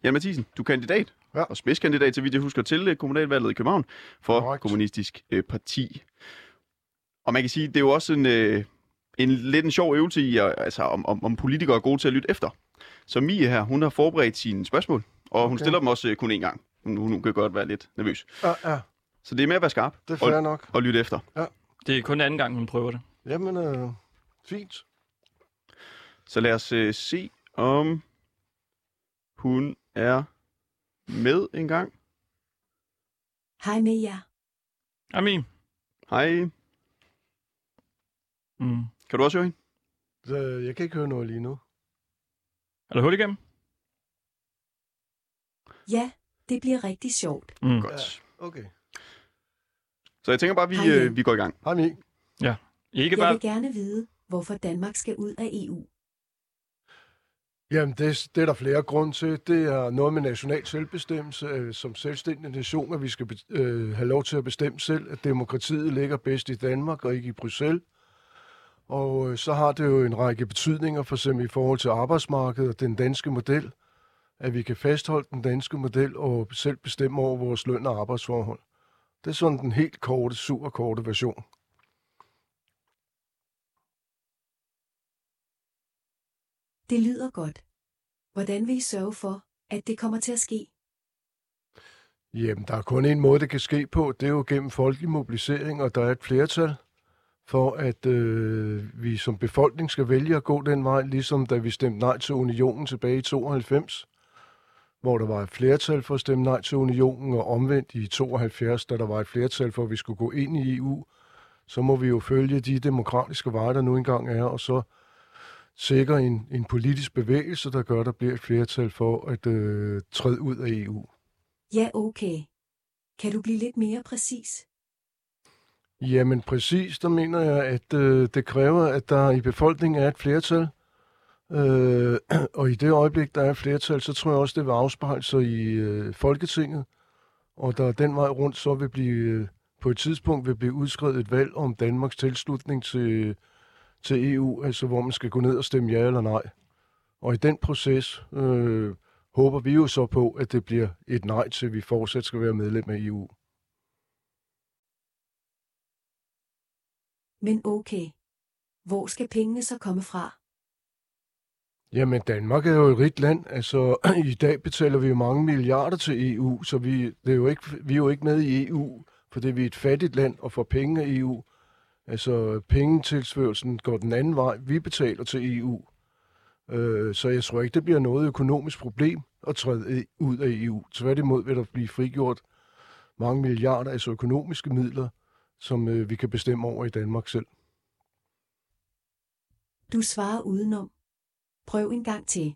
Jan Mathisen, du er kandidat Ja. og spidskandidat, så vidt jeg husker, til øh, kommunalvalget i København for Korrekt. Kommunistisk øh, Parti. Og man kan sige, det er jo også en, øh, en lidt en sjov øvelse i, øh, altså, om, om, om politikere er gode til at lytte efter. Så Mie her, hun har forberedt sine spørgsmål, og hun Okay. stiller dem også øh, kun én gang. Hun, hun kan godt være lidt nervøs. Ja, ja, Så det er med at være skarp det er fair og, nok. og lytte efter. Det er kun anden gang, hun prøver det. Jamen, øh, fint. Så lad os øh, se, om hun er med en gang. Hej med jer. Amin. Hej, Mm. kan du også høre hende? Øh, Jeg kan ikke høre noget lige nu. Er der hul igennem? Ja, det bliver rigtig sjovt. Mm. Godt. Okay. Så jeg tænker bare, at vi, Hej, Jan. øh, vi går i gang. Hej, Mi. Ikke Jeg bare... vil gerne vide, hvorfor Danmark skal ud af E EU. Jamen, det, det er der flere grunde til. Det er noget med national selvbestemmelse. øh, Som selvstændig nation, at vi skal be- øh, have lov til at bestemme selv, at demokratiet ligger bedst i Danmark og ikke i Bruxelles. Og øh, så har det jo en række betydninger, for eksempel i forhold til arbejdsmarkedet og den danske model, at vi kan fastholde den danske model og selv bestemme over vores løn og arbejdsforhold. Det er sådan den helt korte, super korte version. Det lyder godt. Hvordan vil I sørge for, at det kommer til at ske? Jamen, der er kun en måde, det kan ske på. Det er jo gennem folkelig mobilisering, og der er et flertal for, at øh, vi som befolkning skal vælge at gå den vej, ligesom da vi stemte nej til unionen tilbage i 92, hvor der var et flertal for at stemme nej til unionen, og omvendt i 72, da der var et flertal for, at vi skulle gå ind i EU, så må vi jo følge de demokratiske veje, der nu engang er, og så sikre en, en politisk bevægelse, der gør, at der bliver et flertal for at øh, træde ud af EU. Ja, okay. Kan du blive lidt mere præcis? Jamen præcis, der mener jeg, at øh, det kræver, at der i befolkningen er et flertal. Øh, og i det øjeblik, der er et flertal, så tror jeg også, det vil afspejle sig i øh, Folketinget. Og der den vej rundt, så vil blive, øh, på et tidspunkt vil blive udskrevet et valg om Danmarks tilslutning til, til EU, altså hvor man skal gå ned og stemme ja eller nej. Og i den proces øh, håber vi jo så på, at det bliver et nej til, at vi fortsat skal være medlem af E EU. Men okay. Hvor skal pengene så komme fra? Jamen, Danmark er jo et rigt land. Altså, i dag betaler vi jo mange milliarder til EU, så vi, det er jo ikke, vi er jo ikke med i EU, fordi vi er et fattigt land og får penge af EU. Altså, pengetilsførelsen går den anden vej. Vi betaler til EU. Øh, så jeg tror ikke, det bliver noget økonomisk problem at træde i- ud af EU. Tværtimod vil der blive frigjort mange milliarder, altså økonomiske midler, som øh, vi kan bestemme over i Danmark selv. Du svarer udenom. Prøv en gang til.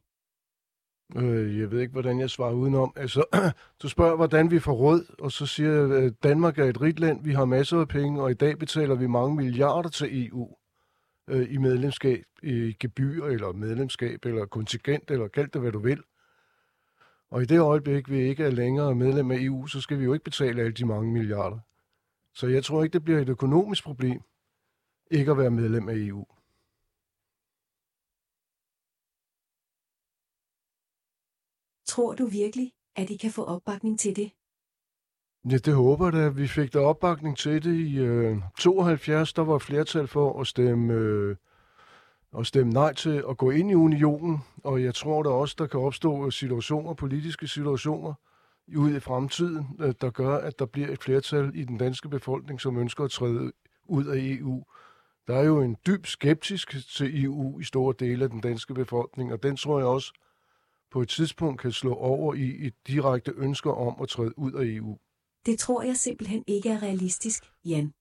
Øh, jeg ved ikke, hvordan jeg svarer udenom. Altså, du spørger, hvordan vi får råd, og så siger jeg, at Danmark er et rigt land, vi har masser af penge, og i dag betaler vi mange milliarder til EU øh, i medlemskab, i gebyr, eller medlemskab, eller kontingent, eller kald det, hvad du vil. Og i det øjeblik, vi ikke er længere medlem af EU, så skal vi jo ikke betale alle de mange milliarder. Så jeg tror ikke, det bliver et økonomisk problem, ikke at være medlem af E EU. Tror du virkelig, at I kan få opbakning til det? Ja, det håber jeg da. Vi fik da opbakning til det i øh, 72. Der var flertal for at stemme, øh, at stemme nej til at gå ind i unionen. Og jeg tror da også, der kan opstå øh, situationer, politiske situationer ude i fremtiden, øh, der gør, at der bliver et flertal i den danske befolkning, som ønsker at træde ud af EU. Der er jo en dyb skeptisk til EU i store dele af den danske befolkning, og den tror jeg også på et tidspunkt kan slå over i et direkte ønske om at træde ud af E EU. Det tror jeg simpelthen ikke er realistisk, Jan.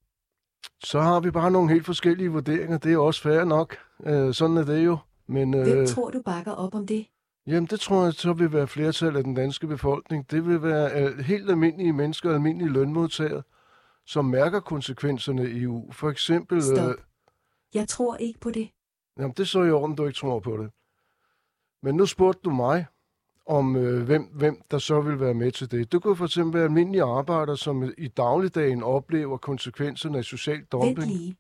så har vi bare nogle helt forskellige vurderinger. Det er også fair nok. Øh, sådan er det jo. Men, øh, Hvem tror du bakker op om det? Jamen, det tror jeg så vil være flertal af den danske befolkning. Det vil være al- helt almindelige mennesker, almindelige lønmodtagere, som mærker konsekvenserne i EU. For eksempel... øh, Stop. Jeg tror ikke på det. Jamen, det er så i orden, du ikke tror på det. Men nu spurgte du mig, om øh, hvem, hvem der så vil være med til det. Det kunne for eksempel være almindelige arbejdere, som i dagligdagen oplever konsekvenserne af social dumping. Vent lige.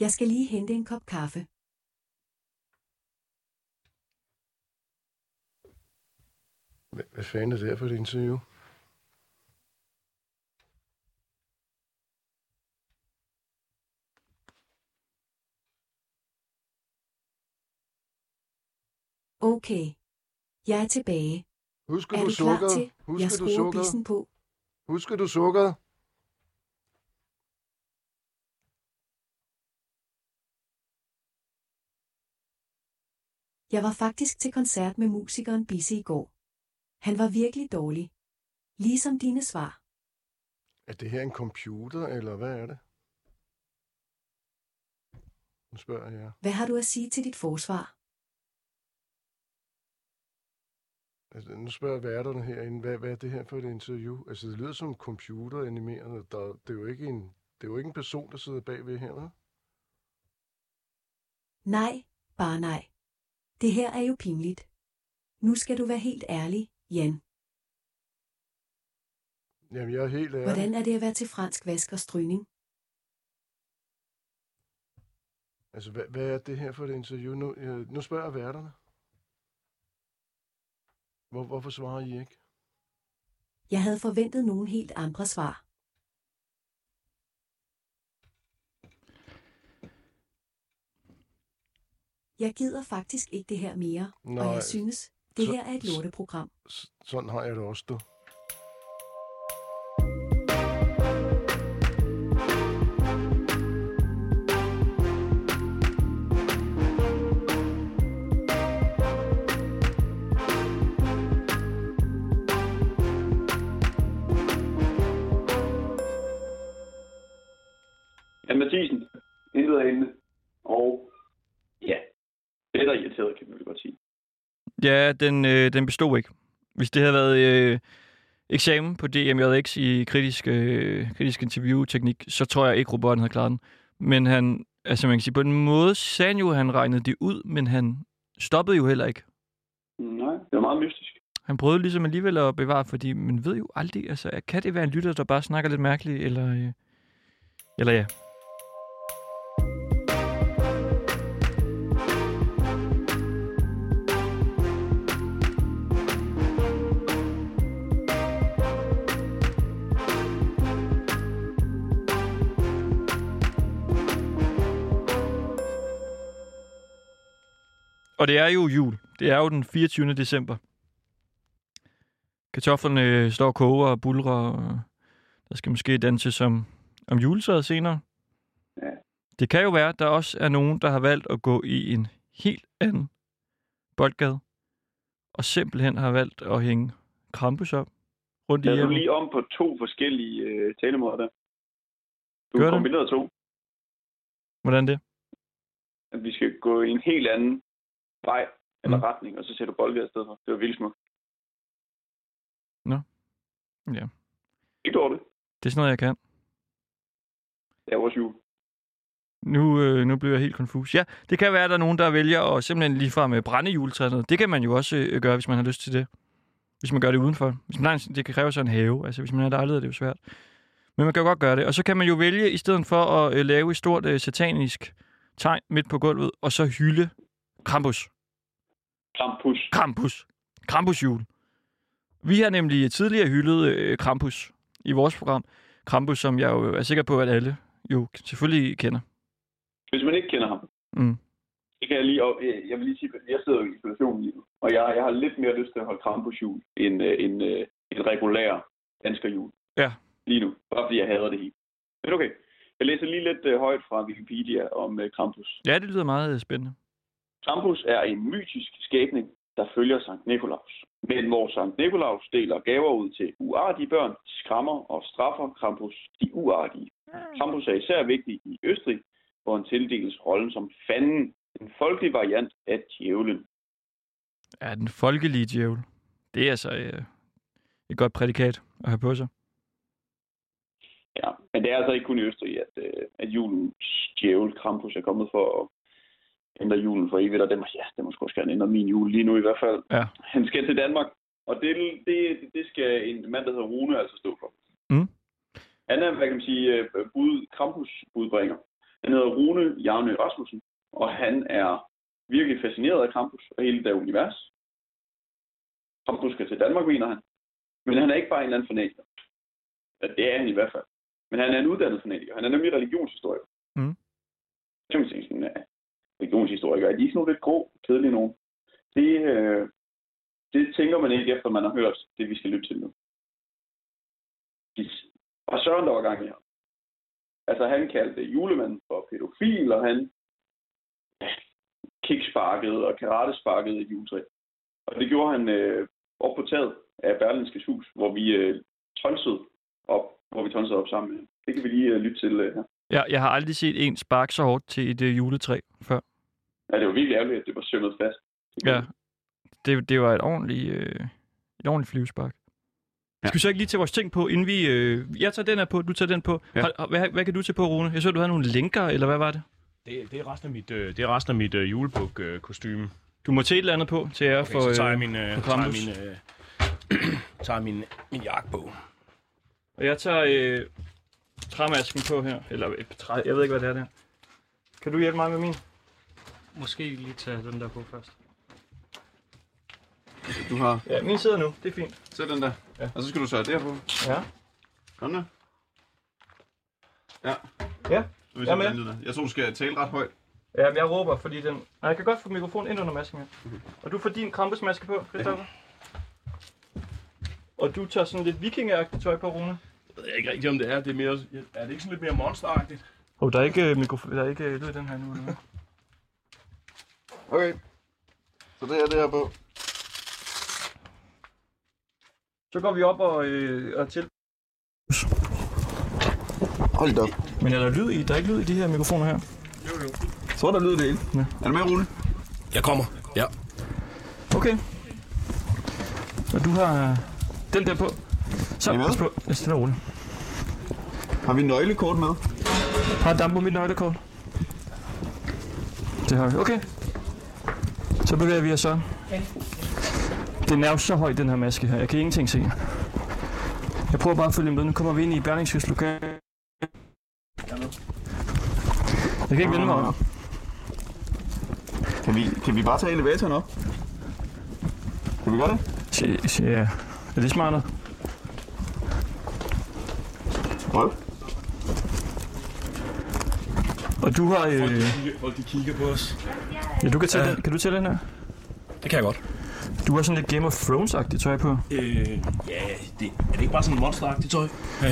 Jeg skal lige hente en kop kaffe. Hvad, hvad fanden er det her for et interview? Okay. Jeg er tilbage. Husker er du du klar sukkeret? til? Husker jeg du skruer sukkeret? bissen på. Husker du sukkeret? Jeg var faktisk til koncert med musikeren Bisse i går. Han var virkelig dårlig. Ligesom dine svar. Er det her en computer, eller hvad er det? Nu spørger jeg. Hvad har du at sige til dit forsvar? Altså, nu spørger værterne herinde, hvad, hvad er det her for et interview? Altså, det lyder som en computer animeret. Der, det, er jo ikke en, det er jo ikke en person, der sidder bagved her, hva'? Nej, bare nej. Det her er jo pinligt. Nu skal du være helt ærlig, Jan. Jamen, jeg er helt ærlig. Hvordan er det at være til fransk vask og stryning? Altså, hvad, hvad er det her for et interview? Nu, øh, nu spørger jeg værterne. Hvor, hvorfor svarer I ikke? Jeg havde forventet nogen helt andre svar. Jeg gider faktisk ikke det her mere, Nej. og Nej. jeg synes, det Så- her er et så- lorteprogram. S- Sådan har jeg det også, du. Ja, Mathisen, det hedder hende. Og ja, det er der irriteret, kan man vel godt sige. Ja, den, øh, den bestod ikke. Hvis det havde været øh, eksamen på DMJX i kritisk, øh, kritisk interviewteknik, så tror jeg ikke, robotten havde klaret den. Men han, altså man kan sige, på en måde sagde han jo, at han regnede det ud, men han stoppede jo heller ikke. Nej, det var meget mystisk. Han prøvede ligesom alligevel at bevare, fordi man ved jo aldrig, altså kan det være en lytter, der bare snakker lidt mærkeligt, eller, øh, eller ja. Og det er jo jul. Det er jo den 24. december. Kartoflerne øh, står og koger og bulrer, og der skal måske danses om, om juletræet senere. Ja. Det kan jo være, at der også er nogen, der har valgt at gå i en helt anden boldgade, og simpelthen har valgt at hænge Krampus op rundt i Jeg er hjemmet. lige om på to forskellige øh, talemåder der. Du Gør har det. kombineret to. Hvordan det? At vi skal gå i en helt anden vej eller mm. retning, og så sætter du bolden afsted for. Det var vildt smukt. Nå. Ja. Ikke dårligt. Det er sådan noget, jeg kan. Det er vores jul. Nu, øh, nu bliver jeg helt konfus. Ja, det kan være, at der er nogen, der vælger at simpelthen ligefrem øh, brænde juletræet. Det kan man jo også øh, gøre, hvis man har lyst til det. Hvis man gør det udenfor. Hvis man har en, det kan kræve sig en have. Altså, hvis man har lejlighed, er det jo svært. Men man kan jo godt gøre det. Og så kan man jo vælge, i stedet for at øh, lave et stort øh, satanisk tegn midt på gulvet, og så hylde Krampus. Krampus. Krampus. Krampusjul. Vi har nemlig tidligere hyldet øh, Krampus i vores program. Krampus, som jeg jo er sikker på, at alle jo selvfølgelig kender. Hvis man ikke kender ham, Mm. det kan jeg lige... Og, øh, jeg vil lige sige, at jeg sidder jo i isolation lige nu, og jeg, jeg har lidt mere lyst til at holde Krampusjul end øh, en, øh, en regulær danskerjul Ja. lige nu. Bare fordi jeg hader det hele. Men okay. Jeg læser lige lidt øh, højt fra Wikipedia om øh, Krampus. Ja, det lyder meget øh, spændende. Krampus er en mytisk skabning, der følger Sankt Nikolaus. Men hvor Sankt Nikolaus deler gaver ud til uartige børn, skræmmer og straffer Krampus de uartige. Krampus er især vigtig i Østrig, hvor han tildeles rollen som fanden, en folkelig variant af djævlen. Ja, den folkelige djævel. Det er altså øh, et godt prædikat at have på sig. Ja, men det er altså ikke kun i Østrig, at, øh, at julens djævel Krampus er kommet for at ændre julen for evigt, og det må, ja, det må sgu også gerne ændre min jul lige nu i hvert fald. Ja. Han skal til Danmark, og det, det, det skal en mand, der hedder Rune, altså stå for. Mm. Han er, hvad kan man sige, øh, bud, Krampus budbringer. Han hedder Rune Jarnø Rasmussen, og han er virkelig fascineret af Krampus og hele det univers. Krampus skal til Danmark, mener han. Men han er ikke bare en eller anden fanatiker. Ja, det er han i hvert fald. Men han er en uddannet fanatiker. Han er nemlig religionshistoriker. Mm. Jeg tænker sådan, ja, religionshistorikere, er de sådan nogle lidt grå, kedelige nogen? Det, øh, det tænker man ikke, efter man har hørt det, vi skal lytte til nu. Yes. Og Søren, der var gang i ham. Altså, han kaldte julemanden for pædofil, og han ja, kicksparkede og karatesparkede et juletræ. Og det gjorde han øh, op på taget af Berlinskes hus, hvor vi øh, tonsede op, hvor vi tonsede op sammen med ham. Det kan vi lige øh, lytte til øh, her. Jeg, jeg har aldrig set en sparke så hårdt til et øh, juletræ før. Ja, det var virkelig ærgerligt, at det var sømmet fast. Ja. Det, det var et ordentligt, øh, et ordentligt flyvespark. Ja. Skal vi så ikke lige tage vores ting på, inden vi... Øh, jeg tager den her på, du tager den på. Ja. Hold, hvad, hvad kan du tage på, Rune? Jeg så, du havde nogle lænker, eller hvad var det? Det, det er resten af mit, øh, det er resten af mit øh, julebuk-kostyme. Du må tage et eller andet på til ære Okay, for... så tager jeg øh, min, øh, tager for Krampus. min, øh, tager min, min jakke på. Og jeg tager øh, træmasken på her. Eller øh, træ, jeg ved ikke, hvad det er der. Kan du hjælpe mig med min? Måske lige tage den der på først. Du har... Ja, min sidder nu. Det er fint. Så den der. Ja. Og så skal du så derpå. Ja. Kom nu. Ja. Ja, Du vil jeg er med. jeg, jeg tror, du skal tale ret højt. Ja, men jeg råber, fordi den... Nej, jeg kan godt få mikrofonen ind under masken her. Og du får din krampesmaske på, Christoffer. Og du tager sådan lidt vikingeagtigt tøj på, Rune. Jeg ved ikke rigtigt, om det er. Det er, mere, er det ikke sådan lidt mere monsteragtigt? Åh, oh, der er ikke, øh, mikrofon, der er ikke øh, lyd i den her nu. eller hvad? Okay. Så det er det her på. Så går vi op og, øh, og til. Hold da op. Men er der lyd i? Der er ikke lyd i de her mikrofoner her. Så er der lyd i det hele. Ja. Er du med, Rune? Jeg kommer. Ja. Okay. Og du har øh, den der på. Så, pas på. Jeg stiller roligt. Har vi nøglekort med? Har Dambo mit nøglekort? Det har vi. Okay. Så bevæger vi os så. Den er jo så høj, den her maske her. Jeg kan ingenting se. Jeg prøver bare at følge med. Nu kommer vi ind i Berlingskes lokal. Jeg kan ikke vende mig om. Kan vi, kan vi bare tage elevatoren op? Kan vi gøre det? Se, ja. Er det smartere? Hold. Og du har... Folk, Øh, de kigger, folk, de kigger på os. Øh. ja, du kan tage den. Kan du tage den her? Det kan jeg godt. Du har sådan lidt Game of Thrones-agtigt tøj på. Øh, ja, det, er det ikke bare sådan monsteragtigt tøj? Øh,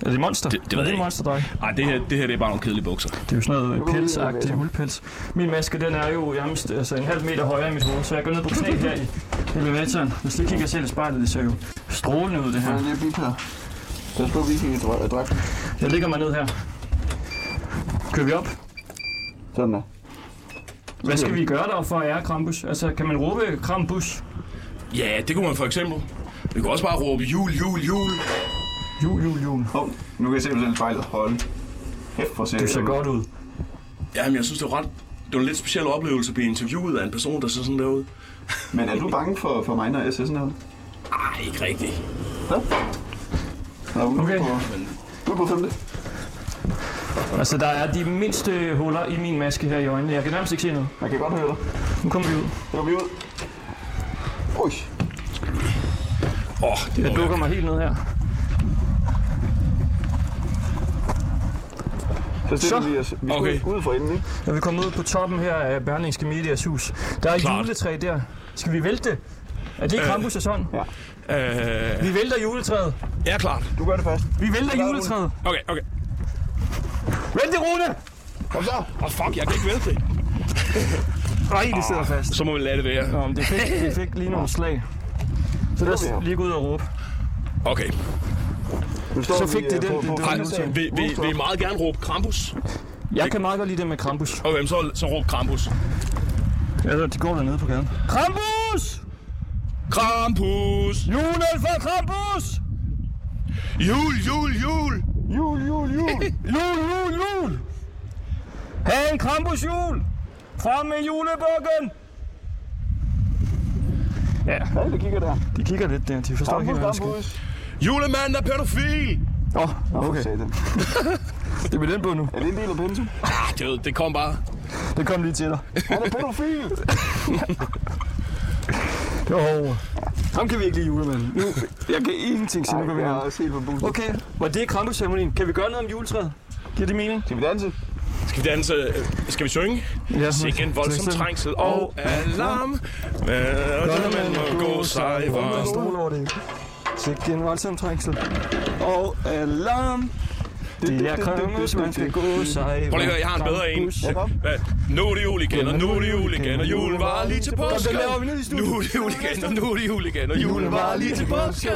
er det monster? Det, det ved jeg ikke. monster dig? Nej, det her, det her det er bare nogle kedelige bukser. Det er jo sådan noget pelsagtigt, uldpels. Min maske, den er jo nærmest altså en halv meter højere i mit hoved, så jeg går ned på knæ her i elevatoren. Hvis du lige kigger selv i spejlet, det ser jo strålende ud, det her. Ja, det er bip her. Der står vikingedragten. Jeg ligger mig ned her. Kører vi op? Sådan der. Hvad skal vi gøre der for at ære Krampus? Altså, kan man råbe Krampus? Ja, det kunne man for eksempel. Vi kunne også bare råbe jul, jul, jul. Jul, jul, jul. Hov, nu kan jeg se, hvordan spejlet holde. Hæft for Du ser godt ud. Jamen, jeg synes, det var ret... Det var en lidt speciel oplevelse at blive interviewet af en person, der så sådan der ud. Men er du bange for, for mig, når jeg ser sådan her? Nej, ikke rigtigt. Nå, okay. Du er på femte. Altså, der er de mindste huller i min maske her i øjnene. Jeg kan nærmest ikke se noget. Jeg kan godt høre dig. Nu kommer vi ud. Nu kommer vi ud. Ui. Åh, oh, det Jeg dukker mig helt ned her. Så stiller vi os vi okay. ud for enden, ikke? Jeg vil komme ud på toppen her af Berlingske Medias hus. Der er et juletræ der. Skal vi vælte det? Er det Øh, Krampus og sådan? Ja. Øh, Vi vælter juletræet. Ja, klart. Du gør det først. Vi vælter juletræet. Okay, okay. Vent det, Rune! Kom så! Åh, oh, fuck, jeg kan ikke vælte det. Ah, Nej, det sidder fast. Så må vi lade det være. Nå, men det fik, det fik lige nogle slag. Så lad os lige gå ud og råbe. Okay. Så fik øh, det den. den- Ej, den- vil, vil, vil I meget gerne råbe Krampus? Jeg kan meget godt lide det med Krampus. Okay, men så, så råb Krampus. Ja, de går dernede på gaden. Krampus! Krampus! Julen for Krampus! Jul, jul, jul! Jul, jul, jul! jul, jul, jul! Ha' en Krampus jul! Frem med julebukken! Ja. Alle kigger der. De kigger lidt der, de forstår ikke helt, hvad der sker. Julemanden er pædofil! Åh, oh, okay. det er med den på nu. Er det en del af pensum? Ah, det, ved- det kom bare. Det kom lige til dig. Han er pædofil! Det var over. Ham kan vi ikke lide julemanden. Nu, jeg kan ingenting sige, nu kan vi jeg er ham. også helt forbrugt. Okay, var det Krampus-ceremonien? Kan vi gøre noget om juletræet? Giver det mening? Skal vi danse? Skal vi danse? øh, Skal vi synge? Ja, så- Sikke en voldsom så- så- trængsel og alarm. Men man må gå sig, hvor man stol over det. Sikke en voldsom trængsel. Og alarm. Det er Krampus, man skal gå sig. Prøv lige at høre, jeg har en bedre en. Hvad? Nu er det jul igen, og nu er det jul igen, og julen var lige til Kom, den påske. laver vi ned i studiet. Nu er det jul igen, og nu er det jul igen, og julen var lige til påske.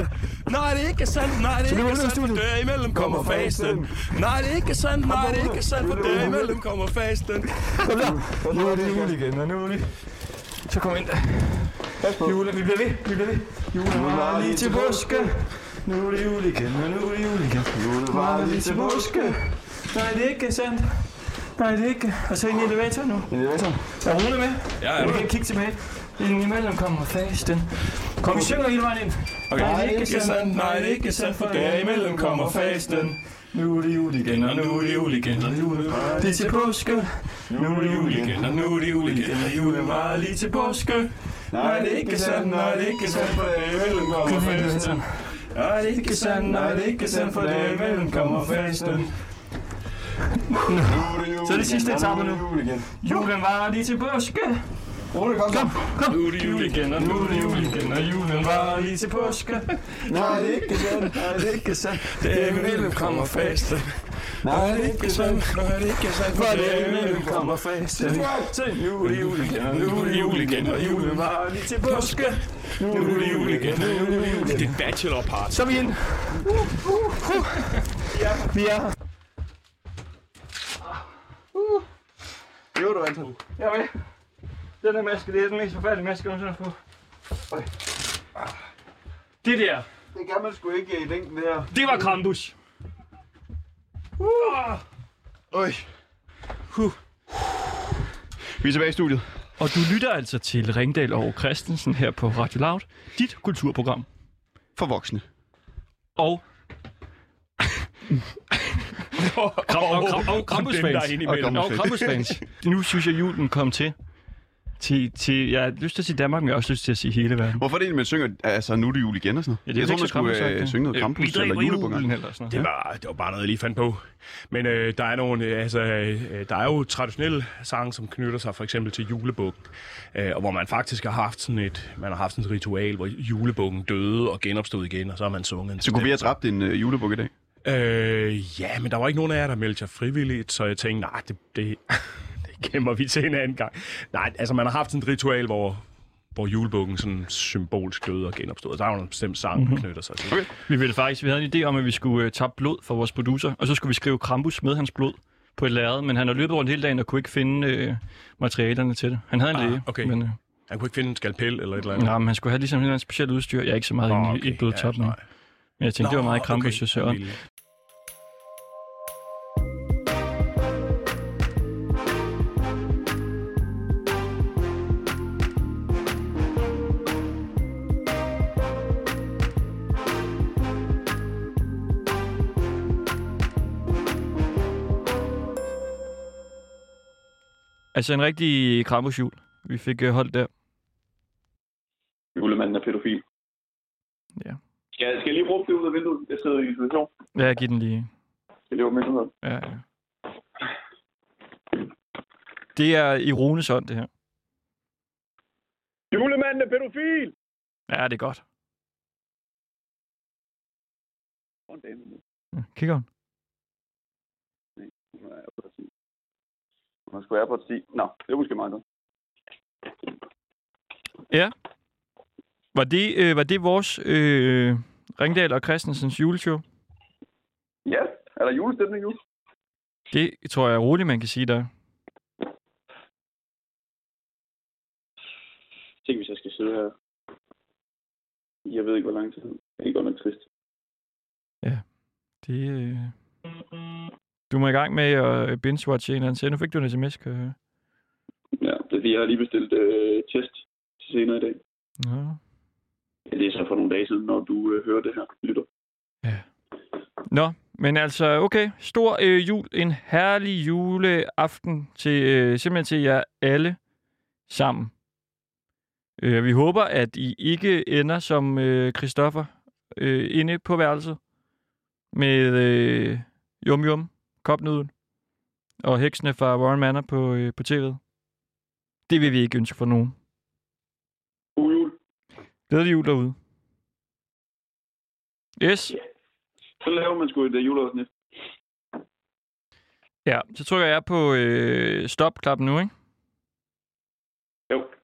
Nej, det er ikke sandt, nej, det Så er nu er ikke det sandt, for studiet. derimellem kommer fasten. Nej, det er ikke sandt, nej, det er ikke sandt, for derimellem kommer fasten. Kom der. Nu er det jul igen, og nu er det... Så kom ind. Jule, vi bliver ved, vi bliver ved. Julen var lige til påske. Nu er det jul igen, og nu er det jul igen. Julen var lige til påske. Nej, det er ikke sandt. Nej, det er ikke. Og så ind i elevatoren nu. En elevator. Er Rune med? Ja, ja. Du kan kigge tilbage. Inden imellem kommer fasten. Kom, vi synger hele vejen ind. Okay. Nej, det er ikke sandt. Nej, det er ikke sandt. For derimellem kommer fasten. Nu er det jul igen, og nu er det jul igen, og julen var lige til påske. Nu er det jul igen, og nu er det jul igen, og julen var lige til påske. Nej, det er ikke sandt, nej, det er ikke sandt, for derimellem kommer fasten. Nej, det er ikke sandt, nej, det er ikke sandt, for derimellem kommer fasten. Så er det sidste eksamen nu. Julen var lige til påske. Ole, kom, kom, kom. Nu er det jul igen, og nu er det jul igen, og julen var lige til påske. Nej, det er ikke sådan. Nej, det er ikke sådan. Det er mellem kommer fast. Nej, det er ikke sådan. Nej, det er ikke sådan. For det er mellem kommer fast. Så nu er det jul igen, og nu er det jul igen, og julen var lige til påske. Nu er det jul igen, og nu er det jul igen. Det er en bachelor part. Så er vi ind. Ja, vi er her. Jo, du Anton. Jeg er med. Den her maske, det er den mest forfærdelige maske, jeg nogensinde har på. Det der, Det kan man sgu ikke øh, i længden her. det var Krampus. Øj. Huh. Vi er tilbage i studiet. Og du lytter altså til Ringdal og Christensen her på Radio Loud, dit kulturprogram. For voksne. Og... og, kram, og, kram, og Krampusfans. dem, der er inde imellem. Og Krampusfans. Nu synes jeg, julen kom til. Til, til, jeg har lyst til at sige Danmark, men jeg har også lyst til at sige hele verden. Hvorfor er det egentlig, man synger, altså nu er det jul igen og sådan Ja, noget? det er jeg jo tror, man ikke så skulle Krampusagtigt. øh, synge noget Øh, Krampus vi drikker eller i julebunger. julen eller sådan noget. Det var, det var bare noget, jeg lige fandt på. Men øh, der er nogle, øh, altså, øh, der er jo traditionelle sange, som knytter sig for eksempel til julebukken. Øh, og hvor man faktisk har haft sådan et, man har haft sådan et ritual, hvor julebukken døde og genopstod igen, og så har man sunget. en Så kunne vi have bestemt dræbt en øh, julebuk i dag? sang. Øh, ja, men der var ikke nogen af jer, der meldte jer frivilligt, så jeg tænkte, nej, det, det, det gemmer vi til en anden gang. Nej, altså man har haft sådan et ritual, hvor hvor julebukken sådan symbolsk døde og genopstod. Der er jo en bestemt sang, der Mhm. knytter sig til. Okay. Vi ville faktisk, vi havde en idé om, at vi skulle øh, tabe blod for vores producer, og så skulle vi skrive Krampus med hans blod på et lærred, men han har løbet rundt hele dagen og kunne ikke finde øh, materialerne til det. Han havde en Ah, læge, okay. men, øh, Han kunne ikke finde en skalpel eller et eller andet. nej, men han skulle have ligesom en eller anden specielt udstyr. Jeg er ikke så meget Nå, inde i- i okay. blodtop nu. Men jeg tænkte, det var Nå, meget Krampus, okay. jeg søger. Vildt. Altså en rigtig Krampusjul, vi fik øh, holdt der. Julemanden er pædofil. Ja. Skal, skal jeg lige råbe det ud af vinduet? Jeg sidder i isolation. Ja, giv den lige. Skal jeg lige åbne vinduet? Ja, ja. Det er i Runes ånd, det her. Julemanden er pædofil! Ja, det er godt. Åh, en dame. Ja, kig on. Hun er på et 10. Hun skulle være på et 10. Nå, det er måske meget godt. Ja. Var det, øh, var det vores øh, Ringdal og Christensens juleshow? Ja, er der julestemning nu? Det tror jeg er roligt, man kan sige der. Tænk, hvis jeg skal sidde her. i, Jeg ved ikke, hvor lang tid. Det er godt nok trist. Det, øh... Du må i gang med at øh, binge-watche en eller anden serie. Nu fik du en sms, kan jeg høre. Ja, det er fordi, jeg har lige bestilt øh, test til senere i dag. Nå. Ja, det er så for nogle dage siden, når du øh, hører det her, lytter. Nå, men altså, okay. Stor øh, jul. En herlig juleaften til, øh, simpelthen til jer alle sammen. Øh, vi håber, at I ikke ender som øh, Christoffer øh, inde på værelset med øh, Yum Yum, kopnuden og heksene fra Warren Manor på, øh, på tv'et. Det vil vi ikke ønske for nogen. God jul. Glædelig jul derude. Yes. Så laver man sgu et øh, juleafsnit. Ja, så trykker jeg på øh, stop-knappen nu, ikke? Jo.